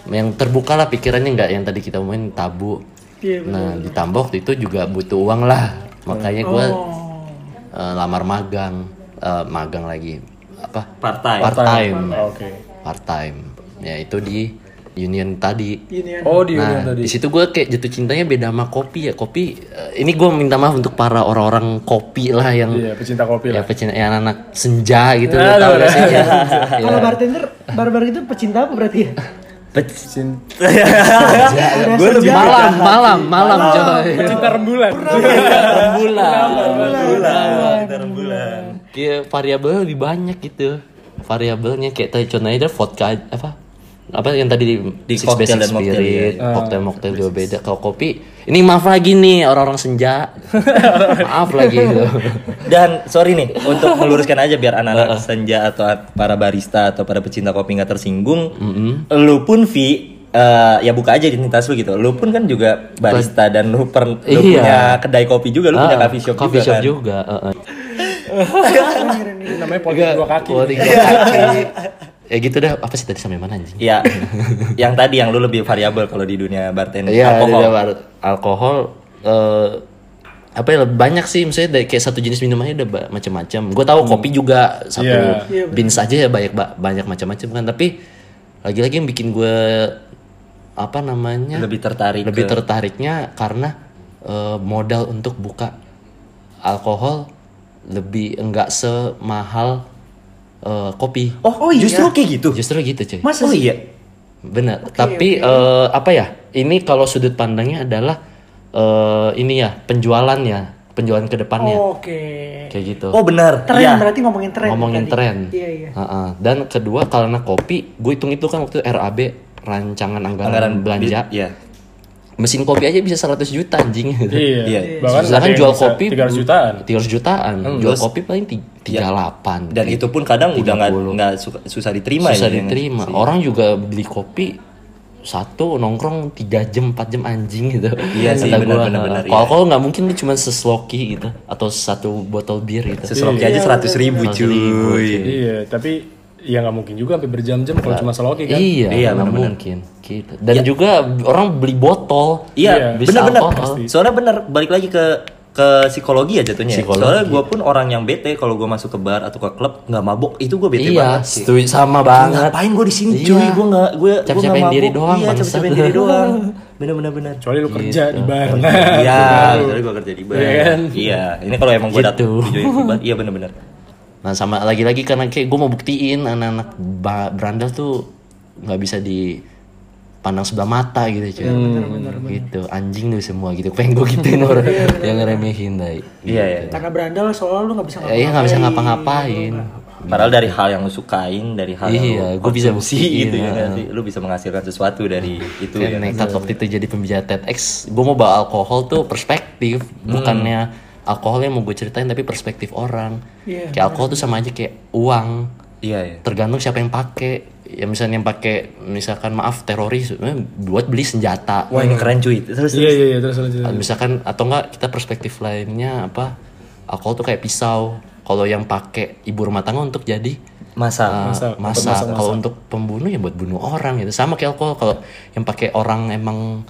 Speaker 3: yang terbuka lah pikirannya nggak yang tadi kita main tabu
Speaker 4: Iya,
Speaker 3: nah ditambah waktu itu juga butuh uang lah makanya gue
Speaker 4: Oh.
Speaker 3: eh, lamar magang Eh, magang lagi apa
Speaker 1: part time
Speaker 3: part time
Speaker 2: Oke.
Speaker 3: part time ya itu di union tadi
Speaker 4: Ini
Speaker 2: Oh di
Speaker 3: nah,
Speaker 2: Union tadi.
Speaker 3: di situ gue kayak jatuh cintanya beda sama kopi ya. Kopi eh, ini gue minta maaf untuk para orang-orang kopi lah yang
Speaker 2: Iya, pecinta kopi
Speaker 3: ya
Speaker 2: lah.
Speaker 3: pecinta yang anak senja gitu
Speaker 2: Aduh,
Speaker 3: lo tau
Speaker 2: <laughs>
Speaker 3: gak sih? Ya.
Speaker 4: Kalau bartender, barbar itu pecinta apa berarti
Speaker 3: <laughs>
Speaker 4: ya?
Speaker 2: Pecinta
Speaker 3: Gue lebih Iya. malam, malam, malam, coy.
Speaker 1: <laughs>
Speaker 2: rembulan.
Speaker 3: Rembulan.
Speaker 1: bulan
Speaker 3: Kayak variabel Iya, lebih banyak gitu. Variabelnya kayak tadi contohnya ada vodka apa? Apa yang tadi di,
Speaker 1: Di
Speaker 3: six
Speaker 1: cocktail
Speaker 3: basic
Speaker 1: dan mocktail, iya.
Speaker 3: spirit,
Speaker 2: Ah,
Speaker 3: cocktail
Speaker 2: iya.
Speaker 3: mocktail juga beda. Kalau kopi, ini maaf lagi nih orang-orang
Speaker 2: <laughs>
Speaker 3: senja. maaf lagi gitu.
Speaker 1: Dan sorry
Speaker 3: <laughs>
Speaker 1: nih untuk meluruskan aja biar anak-anak senja atau para barista atau para pecinta kopi nggak tersinggung, lu pun Vi eh, ya buka aja identitas lu gitu. Lu pun kan juga barista dan lu, per, lu
Speaker 3: Iya.
Speaker 1: punya kedai kopi juga, lu punya
Speaker 3: Ah,
Speaker 1: coffee shop juga kan.
Speaker 3: juga. eh, heeh.
Speaker 2: Ini <laughs> namanya politik dua kaki.
Speaker 3: Politik dua Oh,
Speaker 1: <laughs>
Speaker 3: kaki. ya gitu dah. Apa sih tadi sampai mana anjing? <laughs>
Speaker 1: Iya. yang tadi yang lu lebih variabel kalau di dunia bartender
Speaker 3: Iya,
Speaker 1: alkohol.
Speaker 3: alkohol. alkohol eh, apa ya banyak sih misalnya dari kayak satu jenis minumannya udah ba- macam-macam. Gue
Speaker 1: Hmm.
Speaker 3: tahu kopi juga satu
Speaker 2: Iya.
Speaker 4: Iya, bener.
Speaker 3: beans aja ya banyak ba- banyak macam-macam kan. Tapi lagi-lagi yang bikin gue apa namanya
Speaker 1: Lebih tertarik
Speaker 3: lebih
Speaker 1: ke-
Speaker 3: tertariknya karena eh, modal untuk buka alkohol lebih enggak semahal eh, kopi.
Speaker 1: Oh, justru kayak gitu.
Speaker 3: Justru gitu cuy.
Speaker 1: Masa oh iya.
Speaker 3: Benar. Tapi eh, apa ya? Ini kalau sudut pandangnya adalah eh, ini ya penjualannya, penjualan ke depannya
Speaker 4: Oke.
Speaker 3: kayak gitu.
Speaker 1: Oh benar.
Speaker 4: Tren
Speaker 1: Iya.
Speaker 4: berarti ngomongin tren.
Speaker 3: Ngomongin
Speaker 4: Oh. tadi.
Speaker 3: tren.
Speaker 4: Iya iya.
Speaker 3: Heeh. Dan kedua karena kopi, gue hitung itu kan waktu itu RAB rancangan anggaran, belanja.
Speaker 1: bi- Iya.
Speaker 3: Mesin kopi aja bisa 100 juta anjing.
Speaker 2: Iya.
Speaker 1: Iya.
Speaker 2: Bahkan
Speaker 3: Sedangkan kan jual kopi
Speaker 2: 300 jutaan.
Speaker 3: 300 jutaan. jual
Speaker 1: terus-
Speaker 3: kopi paling ti- 38.
Speaker 1: Dan
Speaker 3: kayak
Speaker 1: itu pun kadang udah nggak
Speaker 3: 30.
Speaker 1: nggak suka- susah diterima
Speaker 3: Iya. susah
Speaker 1: ya,
Speaker 3: diterima.
Speaker 1: Iya.
Speaker 3: Orang juga beli kopi satu nongkrong tiga jam 4 jam anjing gitu.
Speaker 1: Iya sih,
Speaker 3: Kata
Speaker 1: benar,
Speaker 3: gua,
Speaker 1: benar, benar, Iya.
Speaker 3: Kalau alkohol nggak mungkin lu cuma sesloki gitu atau satu botol bir gitu.
Speaker 1: Seseloki aja seratus ribu
Speaker 3: Seratus ribu,
Speaker 1: cuy.
Speaker 2: Iya, tapi ya nggak mungkin juga sampai berjam-jam kalau cuma seloki kan.
Speaker 3: Iya,
Speaker 1: Iya,
Speaker 3: nggak
Speaker 1: benar-benar. Ya.
Speaker 3: mungkin. Gitu. Dan juga orang beli botol.
Speaker 2: Iya.
Speaker 1: Iya,
Speaker 3: Bisa Oh,
Speaker 1: benar-benar.
Speaker 3: alkohol.
Speaker 1: Soalnya benar balik lagi ke ke psikologi ya jatuhnya. ya.
Speaker 3: Psikologi.
Speaker 1: Soalnya gue pun orang yang bete kalau gue masuk ke bar atau ke klub nggak mabok itu gue bete
Speaker 3: Iya,
Speaker 1: banget sih.
Speaker 3: setuju sama banget.
Speaker 1: Ngapain gue di sini
Speaker 3: Iya.
Speaker 1: cuy? Gue nggak gue gue nggak
Speaker 3: Cap-capain diri
Speaker 1: mabok.
Speaker 3: doang,
Speaker 1: Iya,
Speaker 3: bangsat.
Speaker 1: cap-capain diri
Speaker 3: <laughs>
Speaker 1: doang. Bener-bener bener.
Speaker 2: Kecuali lu kerja di bar.
Speaker 1: Iya, kecuali gue kerja di bar.
Speaker 2: Iya kan?
Speaker 1: Iya, ini kalau emang gue
Speaker 3: Gitu.
Speaker 1: datang tujuannya ke bar, iya bener-bener.
Speaker 3: Nah sama lagi-lagi karena kayak gue mau buktiin anak-anak ba- berandal tuh nggak bisa dipandang sebelah mata gitu cuy. gitu anjing lu semua gitu pengen gue gituin orang yang ngeremehin dai
Speaker 1: Iya, iya.
Speaker 4: Karena berandal soalnya lu nggak bisa
Speaker 3: Eh, iya nggak bisa ngapa-ngapain
Speaker 1: Padahal dari hal yang lu sukain, dari hal yang
Speaker 3: Iya,
Speaker 1: lu
Speaker 3: gua bisa
Speaker 1: konsumsi
Speaker 3: buktiin,
Speaker 1: gitu ya
Speaker 3: iya. Hmm.
Speaker 1: nanti lu bisa menghasilkan sesuatu dari itu ya.
Speaker 3: Kayak nekat waktu itu jadi pembicara TEDx gue mau bawa alkohol tuh perspektif bukannya alkohol yang mau gue ceritain tapi perspektif orang
Speaker 4: Iya,
Speaker 3: kayak alkohol tuh sama aja kayak uang
Speaker 1: Iya, iya.
Speaker 3: tergantung siapa yang pakai ya misalnya yang pakai misalkan maaf teroris eh, buat beli senjata
Speaker 1: Wah, ini keren cuy. Terus
Speaker 2: Iya, iya, iya, terus lanjut.
Speaker 3: Ah, misalkan atau enggak kita perspektif lainnya apa alkohol tuh kayak pisau kalau yang pakai ibu rumah tangga untuk jadi
Speaker 1: masa
Speaker 3: ah,
Speaker 2: Masak,
Speaker 3: masak
Speaker 2: untuk masak-masak.
Speaker 3: kalau untuk pembunuh ya buat bunuh orang gitu sama kayak alkohol kalau yang pakai orang emang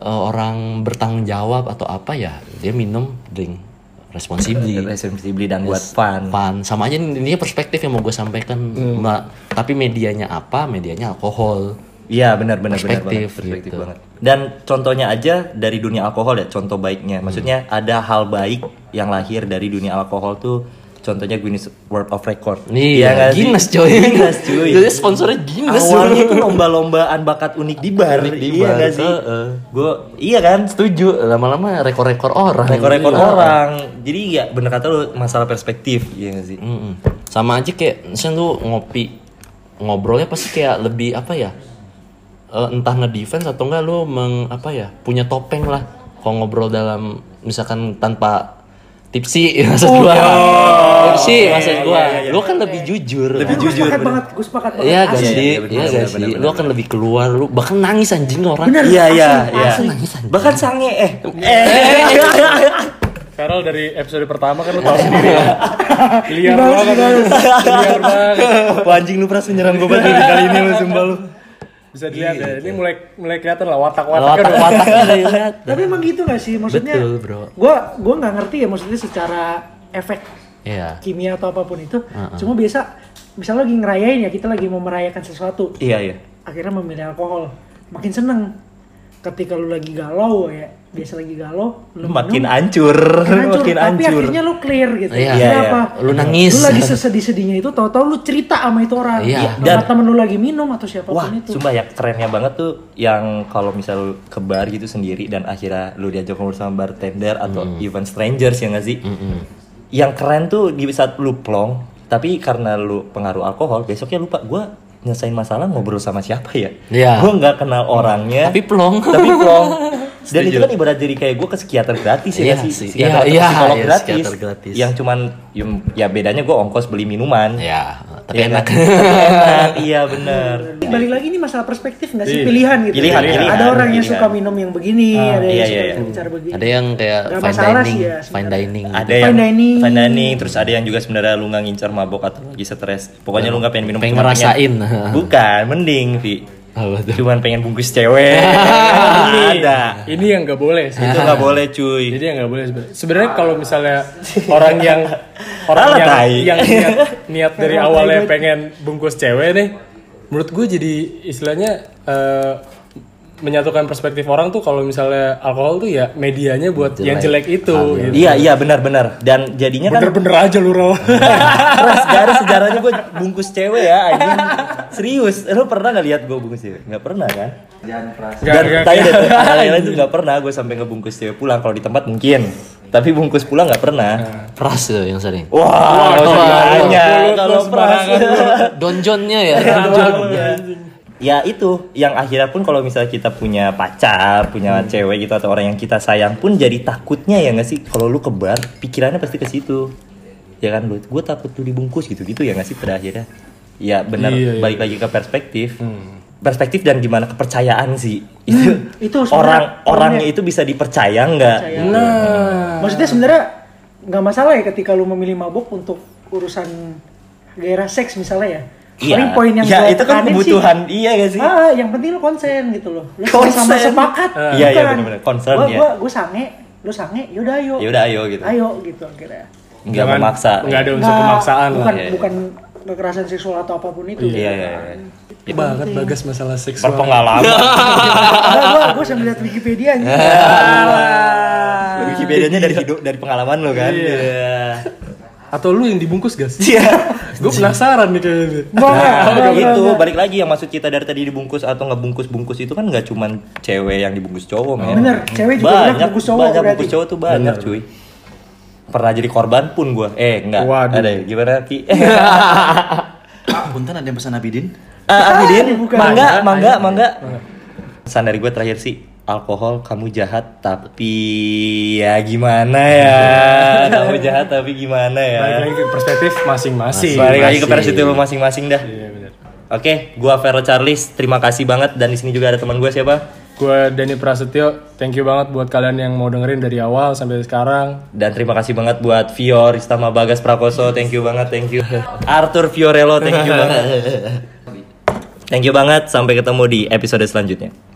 Speaker 3: eh, orang bertanggung jawab atau apa ya dia minum drink responsibly
Speaker 1: resumsi beli dan buat Iya, fun.
Speaker 3: Pan sama aja ini perspektif yang mau gue sampaikan
Speaker 1: Hmm.
Speaker 3: Mbak. tapi medianya apa medianya alkohol
Speaker 1: Iya benar benar benar
Speaker 3: Perspektif,
Speaker 1: banget, perspektif
Speaker 3: gitu.
Speaker 1: banget. Dan contohnya aja dari dunia alkohol ya, contoh baiknya.
Speaker 3: Hmm.
Speaker 1: Maksudnya ada hal baik yang lahir dari dunia alkohol tuh contohnya Guinness World of Record.
Speaker 3: Iya,
Speaker 1: nggak sih?
Speaker 3: Guinness, coy.
Speaker 1: Guinness cuy.
Speaker 3: Jadi sponsornya Guinness.
Speaker 1: Awalnya itu lomba-lombaan bakat unik di bar.
Speaker 3: Unik di
Speaker 1: iya
Speaker 3: bar,
Speaker 1: nggak sih?
Speaker 3: heeh.
Speaker 1: Gue iya kan?
Speaker 3: setuju lama-lama rekor-rekor orang
Speaker 1: Rekor-rekor
Speaker 3: Iya.
Speaker 1: orang. Jadi ya bener kata lu masalah perspektif, iya nggak sih?
Speaker 3: Mm-mm. sama aja kayak misalnya lu ngopi ngobrolnya pasti kayak lebih apa ya Eh, entah ngedefense atau enggak lu meng apa ya punya topeng lah kalau ngobrol dalam misalkan tanpa tipsi <laughs> maksud
Speaker 1: Oh,
Speaker 3: gua
Speaker 1: iya.
Speaker 3: tipsi maksud gua lu kan lebih jujur
Speaker 1: Lebih
Speaker 3: kan?
Speaker 1: jujur.
Speaker 4: Jujur. Sepakat banget, gue sepakat banget.
Speaker 3: Iya gak
Speaker 1: Iya, iya,
Speaker 3: sih?
Speaker 1: bener,
Speaker 3: Iya
Speaker 1: bener,
Speaker 3: gak
Speaker 1: bener,
Speaker 3: sih?
Speaker 1: bener.
Speaker 3: Lu akan lebih keluar, lu bahkan nangis anjing orang.
Speaker 1: Iya iya iya.
Speaker 3: Langsung nangis anjing.
Speaker 1: Bahkan sange eh. Eh. <laughs>
Speaker 2: Feral dari episode pertama kan lu tahu sendiri ya. Liar
Speaker 4: Dibahas,
Speaker 2: banget. Liar banget.
Speaker 1: Wah anjing lu pras menyerang gue banget nih kali ini lu sumpah lu.
Speaker 2: Bisa
Speaker 1: Iya,
Speaker 2: dilihat ya. Ini mulai mulai kelihatan lah watak-watak.
Speaker 3: Watak-watak dilihat.
Speaker 4: Tapi emang gitu gak sih? Maksudnya,
Speaker 3: Betul, bro.
Speaker 4: gue gue nggak ngerti ya maksudnya secara efek
Speaker 3: Iya.
Speaker 4: kimia atau apapun itu. Cuma biasa, misalnya lagi ngerayain ya kita lagi mau merayakan sesuatu,
Speaker 1: Iya iya.
Speaker 4: akhirnya memilih alkohol, makin seneng. Ketika lu lagi galau ya, biasa lagi galau, lu
Speaker 1: Makin
Speaker 4: minum,
Speaker 1: ancur, <laughs>
Speaker 4: makin hancur.
Speaker 1: makin
Speaker 4: tapi
Speaker 1: ancur.
Speaker 4: akhirnya lu clear gitu.
Speaker 1: Iya,
Speaker 3: Iya.
Speaker 1: iya.
Speaker 4: Kenapa?
Speaker 3: Lu nangis.
Speaker 4: Lu lagi sesedih-sedihnya itu, tau-tau lu cerita sama itu orang.
Speaker 3: Iya.
Speaker 4: Sama temen lu lagi minum atau siapapun
Speaker 1: Wah,
Speaker 4: itu.
Speaker 1: sumpah ya kerennya banget tuh yang kalau misal lu ke bar gitu sendiri dan akhirnya lu diajak ngobrol sama bartender atau even strangers ya nggak sih? Yang keren tuh di saat lu plong, tapi karena lu pengaruh alkohol, besoknya lupa gua nyelesain masalah ngobrol sama siapa ya?
Speaker 3: Iya.
Speaker 1: Gua nggak kenal orangnya.
Speaker 3: <laughs> Tapi plong.
Speaker 1: tapi plong Dan itu kan ibarat jadi kayak gue ke psikiater gratis ya
Speaker 3: Iya
Speaker 1: nggak
Speaker 3: sih.
Speaker 1: sih, psikiater
Speaker 3: Iya,
Speaker 1: atau
Speaker 3: iya,
Speaker 1: psikolog
Speaker 3: iya,
Speaker 1: gratis,
Speaker 3: psikiater gratis.
Speaker 1: Yang cuman yum- ya bedanya gue ongkos beli minuman.
Speaker 3: Ya, tapi
Speaker 1: Iya
Speaker 3: enak.
Speaker 1: kan? Tapi
Speaker 3: <laughs>
Speaker 1: enak, iya bener.
Speaker 4: Balik lagi ini masalah perspektif nggak sih
Speaker 2: Iya.
Speaker 4: pilihan gitu.
Speaker 1: Pilihan, pilihan,
Speaker 4: ada orang yang
Speaker 1: pilihan.
Speaker 4: suka minum yang begini, ada yang
Speaker 1: iya,
Speaker 4: suka
Speaker 1: iya,
Speaker 4: minum cara begini.
Speaker 3: Ada yang kayak
Speaker 4: Nggak
Speaker 3: fine
Speaker 4: masalah
Speaker 3: dining,
Speaker 4: sih ya,
Speaker 3: fine
Speaker 4: sebenarnya.
Speaker 3: dining.
Speaker 1: Ada
Speaker 4: Fine
Speaker 1: yang
Speaker 4: dining.
Speaker 1: fine dining, terus ada yang juga sebenarnya lu nggak ngincer mabok atau lagi stres. Pokoknya lu nggak pengen minum.
Speaker 3: Pengen
Speaker 1: cuma
Speaker 3: ngerasain.
Speaker 1: <laughs> Bukan, mending Vi.
Speaker 3: Apa tuh?
Speaker 1: Cuman pengen bungkus
Speaker 3: <laughs>
Speaker 1: cewek. ada.
Speaker 2: Ini yang nggak boleh sih.
Speaker 1: Itu nggak boleh cuy.
Speaker 2: Jadi yang nggak boleh sebenarnya. Sebenarnya kalau misalnya orang yang orang
Speaker 1: <laughs> Alah,
Speaker 2: yang,
Speaker 1: tai.
Speaker 2: <laughs> yang niat, niat dari awalnya pengen bungkus cewek nih, menurut gue jadi istilahnya eh, menyatukan perspektif orang tuh kalau misalnya alkohol tuh ya medianya buat yang jelek itu. gitu.
Speaker 1: Iya iya benar-benar dan jadinya kan
Speaker 2: Bener-bener aja lu Raul.
Speaker 1: Ras garis sejarahnya gue bungkus cewek ya anjing. Serius, lu pernah gak lihat gue bungkus cewek? Gak pernah kan?
Speaker 2: Gak-
Speaker 1: Dan
Speaker 2: gak-
Speaker 1: tanya deh, lain itu gak pernah gue sampai ngebungkus cewek pulang kalau di tempat mungkin. Tapi bungkus pulang gak pernah.
Speaker 3: Pras tuh yang sering.
Speaker 1: Wah, gak usah
Speaker 3: kalau-
Speaker 1: ditanya.
Speaker 2: kalau-
Speaker 1: Kalau
Speaker 2: kalau
Speaker 1: pras.
Speaker 3: Donjonnya ya.
Speaker 1: Iya. Ya itu, yang akhirnya pun kalau misalnya kita punya pacar, punya
Speaker 4: Hmm.
Speaker 1: cewek gitu atau orang yang kita sayang pun jadi takutnya ya nggak sih kalau lu ke bar, pikirannya pasti ke situ. Ya kan lu, gue takut lu dibungkus gitu-gitu ya nggak sih pada akhirnya. Ya benar,
Speaker 2: Iya, iya.
Speaker 1: balik lagi ke perspektif. Perspektif dan gimana kepercayaan sih. Itu,
Speaker 4: Hmm. itu
Speaker 1: orang
Speaker 4: sebenarnya-
Speaker 1: orangnya itu bisa dipercaya nggak?
Speaker 2: Nah,
Speaker 4: Maksudnya sebenarnya nggak masalah ya ketika lu memilih mabuk untuk urusan gairah seks misalnya ya. Paling poin yang
Speaker 1: ya
Speaker 4: gua
Speaker 1: itu kan
Speaker 4: tekanin sih,
Speaker 1: kebutuhan. Iya gak sih?
Speaker 4: Ah, yang penting lu konsen gitu loh. Lu sama-sama
Speaker 1: Konsen.
Speaker 4: sepakat.
Speaker 1: Eh, iya, iya,
Speaker 4: bukan.
Speaker 1: bener-bener. Concern,
Speaker 4: gua,
Speaker 1: ya.
Speaker 4: Gua, gua sange, lu sange, yaudah ayo.
Speaker 1: Yaudah, ayo, gitu.
Speaker 4: Ayo gitu akhirnya.
Speaker 1: Nggak
Speaker 2: jangan-
Speaker 1: memaksa.
Speaker 2: nggak ada unsur
Speaker 4: Nggak,
Speaker 2: pemaksaan lah.
Speaker 4: Nah, bukan,
Speaker 1: Iya, iya.
Speaker 4: Bukan kekerasan seksual atau apapun itu.
Speaker 1: Iya, iya, iya.
Speaker 2: Itu banget bagas masalah seksual.
Speaker 4: <laughs>
Speaker 1: Berpengalaman.
Speaker 4: Nggak, gua, gua sambil liat Wikipedia aja.
Speaker 1: Iya. Wikipedianya dari
Speaker 4: Iya.
Speaker 1: hidup dari pengalaman lo kan.
Speaker 2: Iya.
Speaker 1: Iya.
Speaker 2: Atau lu yang dibungkus gas? <laughs>
Speaker 1: Iya.
Speaker 2: gue penasaran nih kayaknya. nih.
Speaker 4: Gua nggak, gua
Speaker 1: Nah,
Speaker 4: nggak,
Speaker 1: itu
Speaker 4: nggak.
Speaker 1: balik lagi yang maksud kita dari tadi dibungkus atau ngebungkus-bungkus itu kan nggak cuman cewek yang dibungkus cowok, men.
Speaker 4: Bener, cewek juga
Speaker 1: banyak,
Speaker 4: enak bungkus cowok
Speaker 1: Banyak
Speaker 4: berarti.
Speaker 1: bungkus cowok tuh banyak,
Speaker 2: Bener.
Speaker 1: cuy. Pernah jadi korban pun gua. Eh, enggak.
Speaker 2: Waduh.
Speaker 1: Ada ya? gimana Ki?
Speaker 4: <laughs>
Speaker 5: Pak, punten ada yang pesan Abidin?
Speaker 1: Ah, Abidin,
Speaker 4: bukan.
Speaker 1: mangga, mangga, mangga. Pesan dari gue terakhir sih, alkohol kamu jahat tapi ya gimana
Speaker 4: <laughs>
Speaker 1: ya? kamu jahat tapi gimana ya?
Speaker 2: Balik lagi Nah, ke perspektif masing-masing.
Speaker 1: Balik lagi ke
Speaker 3: masing.
Speaker 1: persepsi lu masing-masing dah.
Speaker 2: Iya benar.
Speaker 1: Oke, gua Vero Charles, terima kasih banget dan di sini juga ada teman gue siapa?
Speaker 2: Gue Dani Prasetyo, thank you banget buat kalian yang mau dengerin dari awal sampai sekarang.
Speaker 1: Dan terima kasih banget buat Vior, Istama Bagas Prakoso, thank you banget, thank you. Arthur Fiorello, thank you banget. Thank you banget, sampai ketemu di episode selanjutnya.